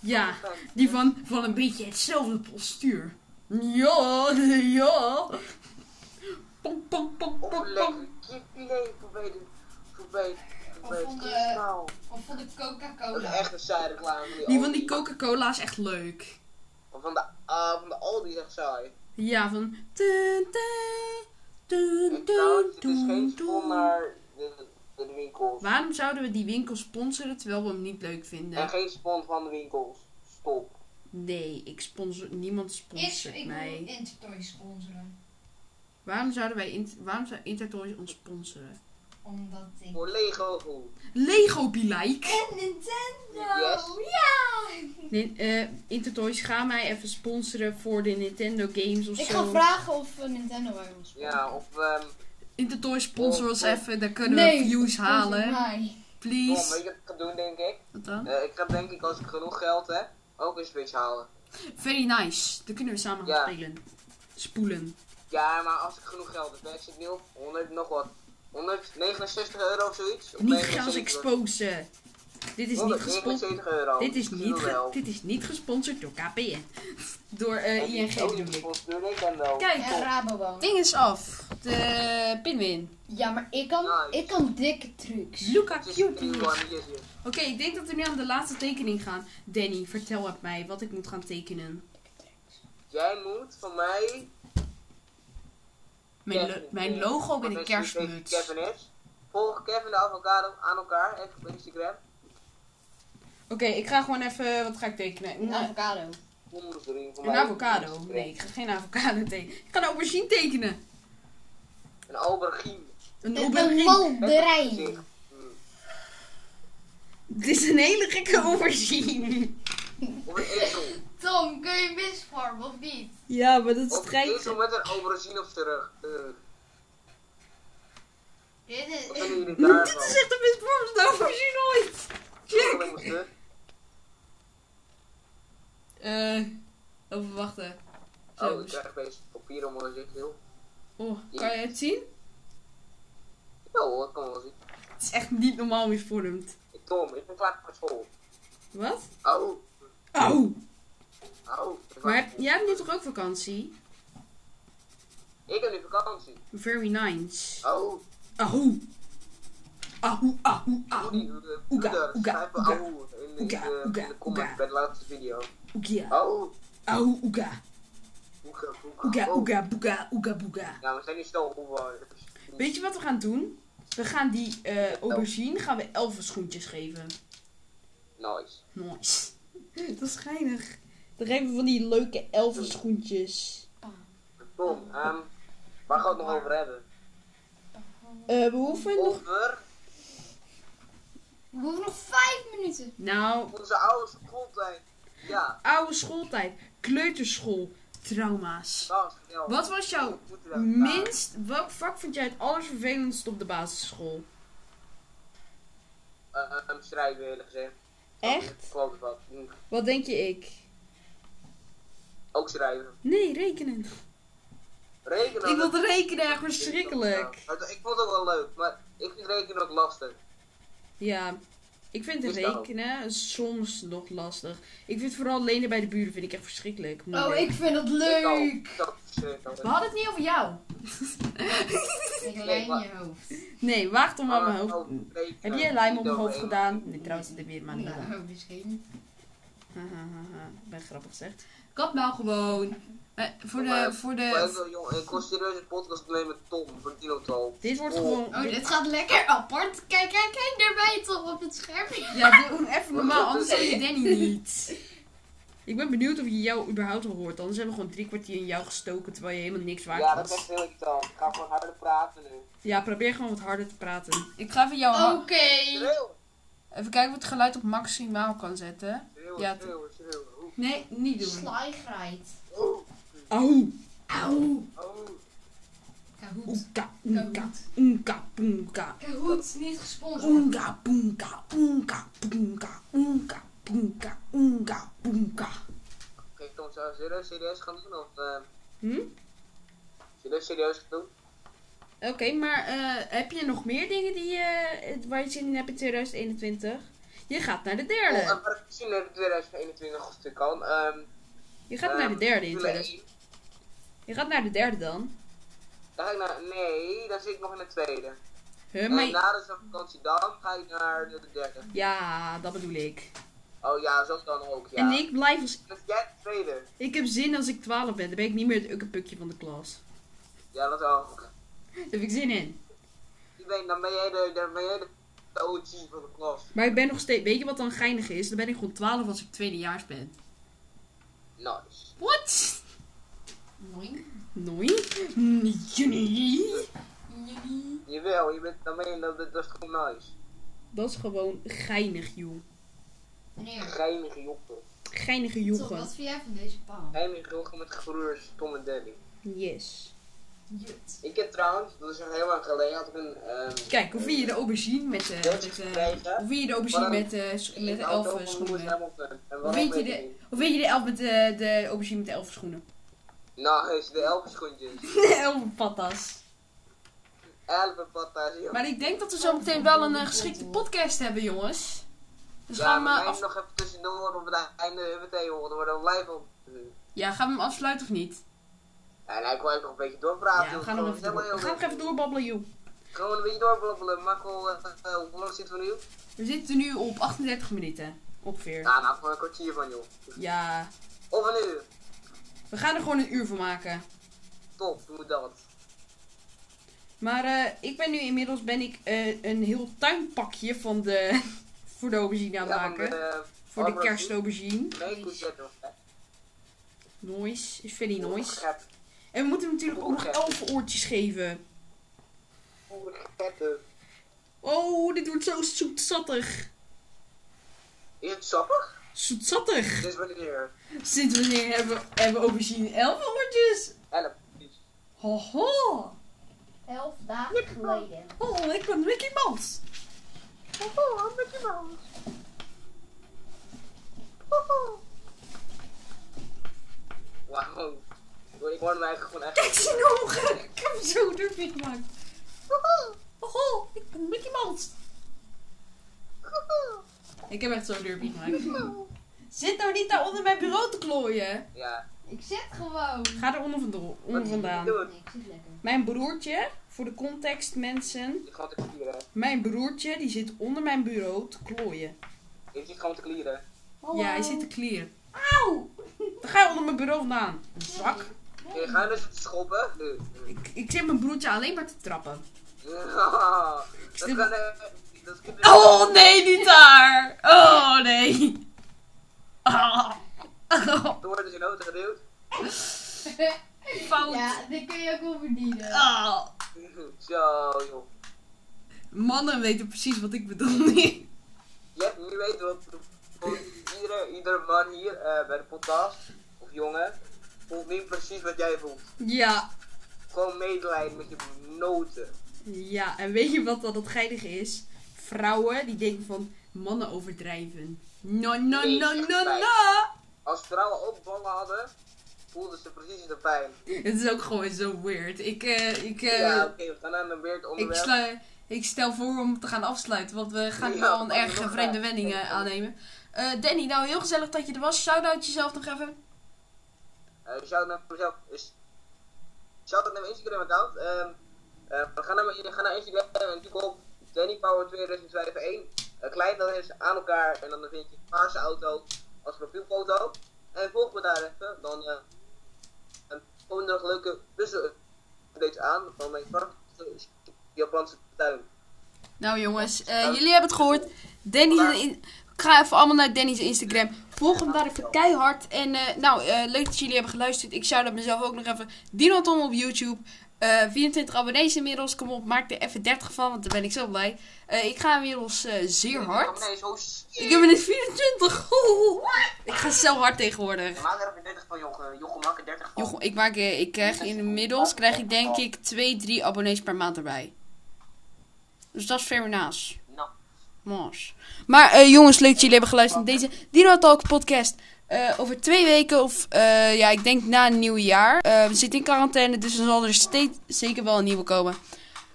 Speaker 1: Ja, Ah, die van, van een beetje hetzelfde postuur. Ja, ja. Pom, pom, pom, pom,
Speaker 3: Op een
Speaker 1: pom.
Speaker 3: lekker kipfilet voorbij de... Voorbij de... Voorbij
Speaker 2: Of
Speaker 3: de
Speaker 2: onder,
Speaker 3: kipsmaal.
Speaker 2: Of voor de
Speaker 3: Dat is
Speaker 2: Coca-Cola.
Speaker 3: echt een saaie reclame. van
Speaker 1: Die van die
Speaker 3: Aldi.
Speaker 1: Coca-Cola is echt leuk.
Speaker 3: Van de, ah, van de Aldi is echt saai.
Speaker 1: Ja, van... tun, tun, tun,
Speaker 3: En trouwens,
Speaker 1: tun,
Speaker 3: het is geen
Speaker 1: tun.
Speaker 3: spon naar de, de winkels.
Speaker 1: Waarom zouden we die winkel sponsoren terwijl we hem niet leuk
Speaker 3: En
Speaker 1: vinden?
Speaker 3: geen spon van de winkels. Stop.
Speaker 1: Nee, ik sponsor... Niemand
Speaker 2: Is,
Speaker 1: sponsort
Speaker 2: ik wil
Speaker 1: mij.
Speaker 2: Intertoy sponsoren.
Speaker 1: Waarom zouden wij... Int- Waarom zou Intertoys ons sponsoren?
Speaker 2: Omdat ik...
Speaker 3: Voor Lego goed.
Speaker 1: Lego be like.
Speaker 2: En Nintendo!
Speaker 3: Yes.
Speaker 2: Ja!
Speaker 1: Nin- eh, Intertoys, ga mij even sponsoren voor de Nintendo games of
Speaker 2: Ik
Speaker 1: zo.
Speaker 2: ga vragen of eh, Nintendo bij ons
Speaker 3: Ja, of ehm
Speaker 1: Intertoys, sponsor ons
Speaker 3: Oh, oh.
Speaker 1: even, dan kunnen we views
Speaker 2: sponsor
Speaker 1: halen.
Speaker 2: mij.
Speaker 3: Tom,
Speaker 1: Please.
Speaker 3: weet je wat ik ga doen denk ik?
Speaker 1: Wat dan?
Speaker 3: Eh, ik ga denk ik als ik genoeg geld heb, ook een Switch halen.
Speaker 1: Very nice. Dan kunnen we samen gaan
Speaker 3: Ja.
Speaker 1: spelen. Spoelen.
Speaker 3: Ja, maar als ik genoeg geld heb, hè, ik zit nu op 100 nog wat. 169 euro of zoiets? Of
Speaker 1: Niet gaan ons
Speaker 3: 79?
Speaker 1: exposen. Dit
Speaker 3: Oh,
Speaker 1: is niet gesponsord.
Speaker 3: 179 euro.
Speaker 1: Dit is niet, ge-
Speaker 3: Wel.
Speaker 1: dit is niet gesponsord door KPN. Door eh,
Speaker 3: En die
Speaker 1: ING
Speaker 3: is ook
Speaker 1: bedoel ik.
Speaker 3: niet gesponsord door Nintendo.
Speaker 2: En
Speaker 1: Kijk,
Speaker 2: Rabobank.
Speaker 1: ding is af. De pinwin.
Speaker 2: Ja, maar ik kan,
Speaker 3: Nice.
Speaker 2: ik kan dikke trucs.
Speaker 1: Luca
Speaker 3: Het is
Speaker 1: Cutie.
Speaker 3: een one, hier is hier.
Speaker 1: Oké, ik denk dat we nu aan de laatste tekening gaan. Danny, vertel het mij wat ik moet gaan tekenen.
Speaker 3: Jij moet van mij
Speaker 1: Mijn,
Speaker 3: Kevin,
Speaker 1: lo- mijn
Speaker 3: eh,
Speaker 1: logo met
Speaker 3: wat
Speaker 1: een
Speaker 3: is die tegen
Speaker 1: kerstmuts. Oké,
Speaker 3: Kevin is. Volg Kevin de Avocado aan elkaar, even op Instagram.
Speaker 1: ik ga gewoon even. Wat ga ik tekenen?
Speaker 2: Een
Speaker 1: Een,
Speaker 3: Nou,
Speaker 2: avocado.
Speaker 3: Onderzoek van
Speaker 1: een
Speaker 3: mij.
Speaker 1: avocado. Nee, ik ga geen avocado tekenen. Ik kan een aubergine tekenen.
Speaker 3: Een aubergine.
Speaker 1: Een
Speaker 2: Een
Speaker 1: aubergine.
Speaker 2: mandarijn.
Speaker 1: Dit is een hele gekke aubergine.
Speaker 3: Of een ezel.
Speaker 2: Tom, kun je misvormen of niet?
Speaker 1: Ja, maar dat
Speaker 3: Of een ezel met een aubergine op zijn rug. Eh,
Speaker 2: Dit
Speaker 3: Wat
Speaker 2: is...
Speaker 3: vinden jullie
Speaker 1: Dit
Speaker 3: daarvan?
Speaker 1: is echt de misvormste aubergine ooit.
Speaker 3: Oh,
Speaker 1: Check.
Speaker 3: Jongens,
Speaker 1: Eh, even wachten.
Speaker 3: hè?
Speaker 1: Zo.
Speaker 3: Oh, ik krijg opeens papier om mijn gezicht, joh.
Speaker 1: Oh, kan je het zien?
Speaker 3: Ja Nou hoor, kan wel zien.
Speaker 1: Het is echt niet normaal misvormd.
Speaker 3: Tom, ik ben klaar voor school.
Speaker 1: Wat?
Speaker 3: Au,
Speaker 1: Oh.
Speaker 3: au. ik ben
Speaker 1: Maar
Speaker 3: klaar
Speaker 1: heb-
Speaker 3: voor
Speaker 1: jij hebt nu toch ook vakantie?
Speaker 3: school. Ik heb nu vakantie. Oh,
Speaker 1: Very nice.
Speaker 3: Au.
Speaker 1: Oh. ahoe, ahoe, ahoe.
Speaker 3: Oedi, eh,
Speaker 1: Oega,
Speaker 3: Oeder,
Speaker 1: oega,
Speaker 3: schrijf
Speaker 1: oega.
Speaker 3: auw in de- in
Speaker 1: Oega,
Speaker 3: de- in
Speaker 1: oega,
Speaker 3: de comment
Speaker 1: oega.
Speaker 3: bij de laatste video.
Speaker 1: Oegia,
Speaker 3: Oh,
Speaker 1: ahoe, oega.
Speaker 3: boega, boega.
Speaker 1: Oega,
Speaker 3: oh.
Speaker 1: oega, boega, oega, boega.
Speaker 3: Nou, we zijn niet snel geworden.
Speaker 1: Weet je wat we gaan doen? We gaan die eh aubergine gaan we elfenschoentjes geven.
Speaker 3: Nice.
Speaker 1: Nice. Dat is geinig. Dan geven we van die leuke elfenschoentjes.
Speaker 3: Kom, ehm, waar gaan we het nog over hebben?
Speaker 1: Eh we hoeven nog...
Speaker 3: Over
Speaker 2: We hoeven nog vijf minuten.
Speaker 1: Nou,
Speaker 3: onze oude schooltijd. Ja,
Speaker 1: oude schooltijd. Kleuterschool. Trauma's.
Speaker 3: dat was snel.
Speaker 1: Wat was jouw
Speaker 3: Moeten we daar-
Speaker 1: minst... Welk vak vond jij het allervervelendst op de basisschool?
Speaker 3: Eh, ehm, schrijven eerlijk gezegd.
Speaker 1: Echt?
Speaker 3: Klopt wat. Hm,
Speaker 1: Wat denk je ik?
Speaker 3: Ook schrijven.
Speaker 1: Nee, rekenen.
Speaker 3: Rekenen.
Speaker 1: Ik
Speaker 3: dat-
Speaker 1: wilde rekenen, echt verschrikkelijk.
Speaker 3: Ja, Ik vond het ook wel leuk, maar ik vind rekenen ook lastig.
Speaker 1: Ja, ik vind
Speaker 3: Dus daarom.
Speaker 1: rekenen soms nog lastig. Ik vind vooral lenen bij de buren vind ik echt verschrikkelijk.
Speaker 2: Oh,
Speaker 1: moeilijk.
Speaker 2: ik vind het leuk.
Speaker 3: Ik kan- ik kan-
Speaker 1: We hadden het niet over jou.
Speaker 2: Ik
Speaker 3: Nee,
Speaker 2: lijn
Speaker 3: maar-
Speaker 2: je hoofd.
Speaker 1: Nee, wacht om aan mijn
Speaker 3: Ah,
Speaker 1: hoofd.
Speaker 3: oh, rekenen.
Speaker 1: Heb jij lijm op
Speaker 3: Niet
Speaker 1: mijn hoofd
Speaker 3: overeen.
Speaker 1: gedaan? Nee, trouwens, dat heb je helemaal niet gedaan.
Speaker 2: Nou, misschien.
Speaker 1: Hahaha, ik ben grappig gezegd. Kap nou gewoon. Eh, voor de,
Speaker 3: Maar-
Speaker 1: voor
Speaker 3: Maar
Speaker 1: de...
Speaker 3: ik, jongen, ik kon serieus een podcast opnemen met Tom van Dinotal.
Speaker 1: Dit wordt
Speaker 3: Oh.
Speaker 1: gewoon...
Speaker 2: Oh, dit gaat lekker apart. Kijk, kijk, kijk, daar ben je toch op het scherm.
Speaker 1: Ja, doe even normaal, anders hoor je Danny niet. Ik ben benieuwd of je jou überhaupt al hoort. Anders hebben we gewoon drie kwartier in jou gestoken terwijl je helemaal niks waard
Speaker 3: Ja, dat
Speaker 1: was.
Speaker 3: is echt heel irritant. Ik ga gewoon harder praten nu.
Speaker 1: Ja, probeer gewoon wat harder te praten. Ik ga even jouw...
Speaker 2: Oké.
Speaker 3: Schreeuw!
Speaker 1: Even kijken of het geluid op maximaal kan zetten.
Speaker 3: Schreeuw,
Speaker 1: Ja,
Speaker 3: schreeuw, schreeuw.
Speaker 1: Nee, niet
Speaker 2: Slijgreit.
Speaker 3: Oeh,
Speaker 1: Auw.
Speaker 2: Auw.
Speaker 3: oeh.
Speaker 2: Kahoot.
Speaker 1: Oeka, oeka, oeka, poenka.
Speaker 2: Kahoot, niet gesponsord.
Speaker 1: Oeka, poenka, oeka, poenka, oeka, poenka, oeka, poenka.
Speaker 3: Kijk, Tom, zou je serieus, serieus gaan doen? Of eh,
Speaker 1: Hm?
Speaker 3: serieus, serieus gaan doen?
Speaker 1: Oké, maar eh, heb je nog meer dingen die, eh, waar je zin in hebt in 2021? Je gaat naar de
Speaker 3: Oh,
Speaker 1: derde.
Speaker 3: en wat ik gezien heb in 2021 of het kan. ehm,
Speaker 1: Je gaat naar de
Speaker 3: ehm,
Speaker 1: derde in
Speaker 3: Formule
Speaker 1: 2000.
Speaker 3: 1.
Speaker 1: Je gaat naar de derde dan.
Speaker 3: Dan ga ik naar, nee, dan zit ik nog in de tweede.
Speaker 1: Huh,
Speaker 3: En
Speaker 1: maar...
Speaker 3: na de vakantie dan ga ik naar de derde.
Speaker 1: Ja, dat bedoel ik.
Speaker 3: Oh ja, zo dan ook, ja.
Speaker 1: En ik blijf als...
Speaker 3: Dan zit jij de tweede.
Speaker 1: Ik heb zin als ik 12 ben. Dan ben ik niet meer het ukkepukje van de klas.
Speaker 3: Ja, dat wel.
Speaker 1: Daar heb ik zin in.
Speaker 3: Ik weet, dan ben jij de, dan ben jij de, de OG van de klas.
Speaker 1: Maar ik ben nog steeds... Weet je wat dan geinig is? Dan ben ik gewoon 12 als ik tweedejaars ben.
Speaker 3: Nice.
Speaker 1: What?
Speaker 2: Mooi.
Speaker 1: Nooi? Nee.
Speaker 2: Jullie.
Speaker 3: Jawel, je bent, dan ben je, dat, dat dat is gewoon nice.
Speaker 1: Dat is gewoon geinig, joh.
Speaker 2: Meneer,
Speaker 3: Geinige joppen.
Speaker 1: Geinige
Speaker 2: Tom,
Speaker 1: joegen.
Speaker 2: wat vind jij van deze paal?
Speaker 3: Geinige joppen met gebroeders Tom en Danny.
Speaker 1: Yes.
Speaker 2: Jut.
Speaker 3: Ik heb trouwens, dat is nog heel lang geleden, had ik een... ehm
Speaker 1: Kijk, hoe vind je de aubergine met de...
Speaker 3: Deze
Speaker 1: Met de
Speaker 3: gekregen.
Speaker 1: hoe vind je de aubergine
Speaker 3: Waarom?
Speaker 1: met de, s-
Speaker 3: in
Speaker 1: met de
Speaker 3: auto
Speaker 1: elfen
Speaker 3: van Lewis
Speaker 1: schoenen?
Speaker 3: Hamilton. En
Speaker 1: Hoe
Speaker 3: waarom
Speaker 1: vind je
Speaker 3: weet ik
Speaker 1: de,
Speaker 3: niet?
Speaker 1: hoe vind je de, elf met de, de aubergine met de elfen schoenen?
Speaker 3: Nice, de elfenschoentjes.
Speaker 1: De elfenpatas.
Speaker 3: Elfen patta's, joh.
Speaker 1: Maar ik denk dat we zo meteen wel een eh, geschikte podcast hebben, jongens. Dus
Speaker 3: ja,
Speaker 1: gaan we
Speaker 3: we nemen
Speaker 1: af...
Speaker 3: nog even tussendoor op het einde meteen, hoor. Dan worden we live op.
Speaker 1: Ja, gaan we hem afsluiten of niet?
Speaker 3: En hij kan nog een beetje doorpraten.
Speaker 1: Ja,
Speaker 3: joh.
Speaker 1: we gaan nog
Speaker 3: Gewoon
Speaker 1: even door.
Speaker 3: heel
Speaker 1: We gaan nog
Speaker 3: leuk.
Speaker 1: even doorbabbelen, joh.
Speaker 3: Gewoon een beetje doorbabbelen. Maar gewoon, eh, eh, hoe lang zitten we nu?
Speaker 1: We zitten nu op 38 minuten, ongeveer.
Speaker 3: Ja, nou, voor een kwartier van, joh.
Speaker 1: Ja,
Speaker 3: Of een uur.
Speaker 1: we gaan er gewoon een uur van maken.
Speaker 3: Top, doe dat.
Speaker 1: Maar eh, ik ben nu inmiddels ben ik, eh, een heel tuinpakje van de, voor de aubergine aan het
Speaker 3: Ja,
Speaker 1: maken.
Speaker 3: van, eh,
Speaker 1: voor de
Speaker 3: Barbara
Speaker 1: kerstaubergine.
Speaker 3: Sue. Nee, goed, dat nog. hè.
Speaker 1: Noise, is very nice.
Speaker 3: Gep-
Speaker 1: En we moeten natuurlijk ook nog elfenoortjes geven.
Speaker 3: geppen.
Speaker 1: Oh, dit wordt zo zoetzattig.
Speaker 3: Is het sappig?
Speaker 1: Zoetzattig.
Speaker 3: Dit is wanneer.
Speaker 1: Sinds wanneer hebben, we- hebben we aubergine elfenoortjes?
Speaker 3: Elf.
Speaker 1: Hoho.
Speaker 2: Elf dagen geleden.
Speaker 1: Oh, ik ben Mickey Mouse.
Speaker 3: Oh, met je mouw. Wauw. Yo, Ik hoor mij eigenlijk gewoon
Speaker 1: Kijk,
Speaker 3: echt.
Speaker 1: zie nou hoe gek ik hem zo durfje gemaakt. Hoho, hoho, ik ben Mickey Mouse. Hoho. Ik heb echt zo'n derpie gemaakt. Zit nou niet daar onder mijn bureau te klooien.
Speaker 3: Ja.
Speaker 2: Ik zit gewoon.
Speaker 1: Ga er onder, vando- onder vandaan.
Speaker 3: Doe het.
Speaker 2: Nee, ik zit lekker.
Speaker 1: Mijn broertje, voor de context mensen.
Speaker 3: Die gaat te klieren.
Speaker 1: Mijn broertje die zit onder mijn bureau te klooien.
Speaker 3: Ik zit gewoon te klieren.
Speaker 2: Hallo.
Speaker 1: Ja, hij zit te klier.
Speaker 2: Auw!
Speaker 1: Dan ga je onder mijn bureau vandaan. Zwak.
Speaker 3: Je gaat dus te schoppen. Nee.
Speaker 1: Ik, ik zit mijn broertje alleen maar te trappen.
Speaker 3: Dat
Speaker 1: zit-
Speaker 3: kan eh, dat kan eh,
Speaker 1: Oh nee, niet daar! Oh nee! Ah. Oh.
Speaker 3: Toen worden ze in de auto geduwd.
Speaker 1: Fout!
Speaker 2: Ja, dit kun je ook wel verdienen.
Speaker 1: Ah.
Speaker 3: Zo, joh.
Speaker 1: Mannen weten precies wat ik bedoel nu.
Speaker 3: Je nu weet wat voor iedere, iedere man hier eh, bij de podcast, of jongen, voelt nu precies wat jij voelt.
Speaker 1: Ja,
Speaker 3: Gewoon medelijden met je noten.
Speaker 1: ja, en weet je wat dan het geinige is? Vrouwen die denken van mannen overdrijven. No, no, no, no, no!
Speaker 3: Als vrouwen ook ballen hadden, voelden ze precies de pijn.
Speaker 1: Het is ook gewoon zo weird. Ik, eh, ik, eh,
Speaker 3: ja, oké, we gaan naar een weird
Speaker 1: ik,
Speaker 3: onderwerp.
Speaker 1: slu- ik stel voor om te gaan afsluiten, want we gaan
Speaker 3: Ja,
Speaker 1: wel een
Speaker 3: maar
Speaker 1: erg
Speaker 3: nog
Speaker 1: vreemde
Speaker 3: wel.
Speaker 1: wending eh, aannemen. Eh, Danny, nou heel gezellig dat je er was. Shout-out jezelf nog even.
Speaker 3: Eh, shout naar mezelf. Is, shout naar mijn Instagram account. Ehm eh, we gaan naar, mijn- ga naar Instagram en typ op Danny Power 2051. Eh, klein dan is aan elkaar en dan vind je een paarse auto als profielfoto. En volg me daar even. Dan eh, en komen er nog leuke bussen updates aan van mijn prachtige Japanse tuin.
Speaker 1: Nou jongens, eh, jullie hebben het gehoord. Danny, in- ga even allemaal naar Danny's Instagram. Volg hem daar even keihard. En eh, nou, eh, leuk dat jullie hebben geluisterd. Ik shout out mezelf ook nog even. Dinoton op YouTube. Eh, 24 abonnees inmiddels. Kom op, maak er even 30 van, want daar ben ik zo blij. Eh, ik ga inmiddels eh, zeer hard.
Speaker 3: Nee, zo
Speaker 1: Ik heb er net 24. Oeh. Ik ga zo hard tegenwoordig.
Speaker 3: Maak er even 30 van, Jochem. Jochem, maak er 30 van.
Speaker 1: Joch, ik, maak, eh, ik krijg inmiddels krijg ik denk ik 2, 3 abonnees per maand erbij. Dus dat is fair enough.
Speaker 3: Nou,
Speaker 1: Mars. Maar eh, jongens, leuk dat jullie hebben geluisterd naar deze Dino Talk podcast. Eh, over twee weken of eh, ja, ik denk na een nieuw jaar. Eh, we zitten in quarantaine, dus er zal er steeds zeker wel een nieuwe komen.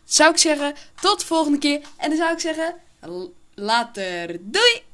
Speaker 1: Zou ik zeggen, tot de volgende keer. En dan zou ik zeggen, l- later. Doei!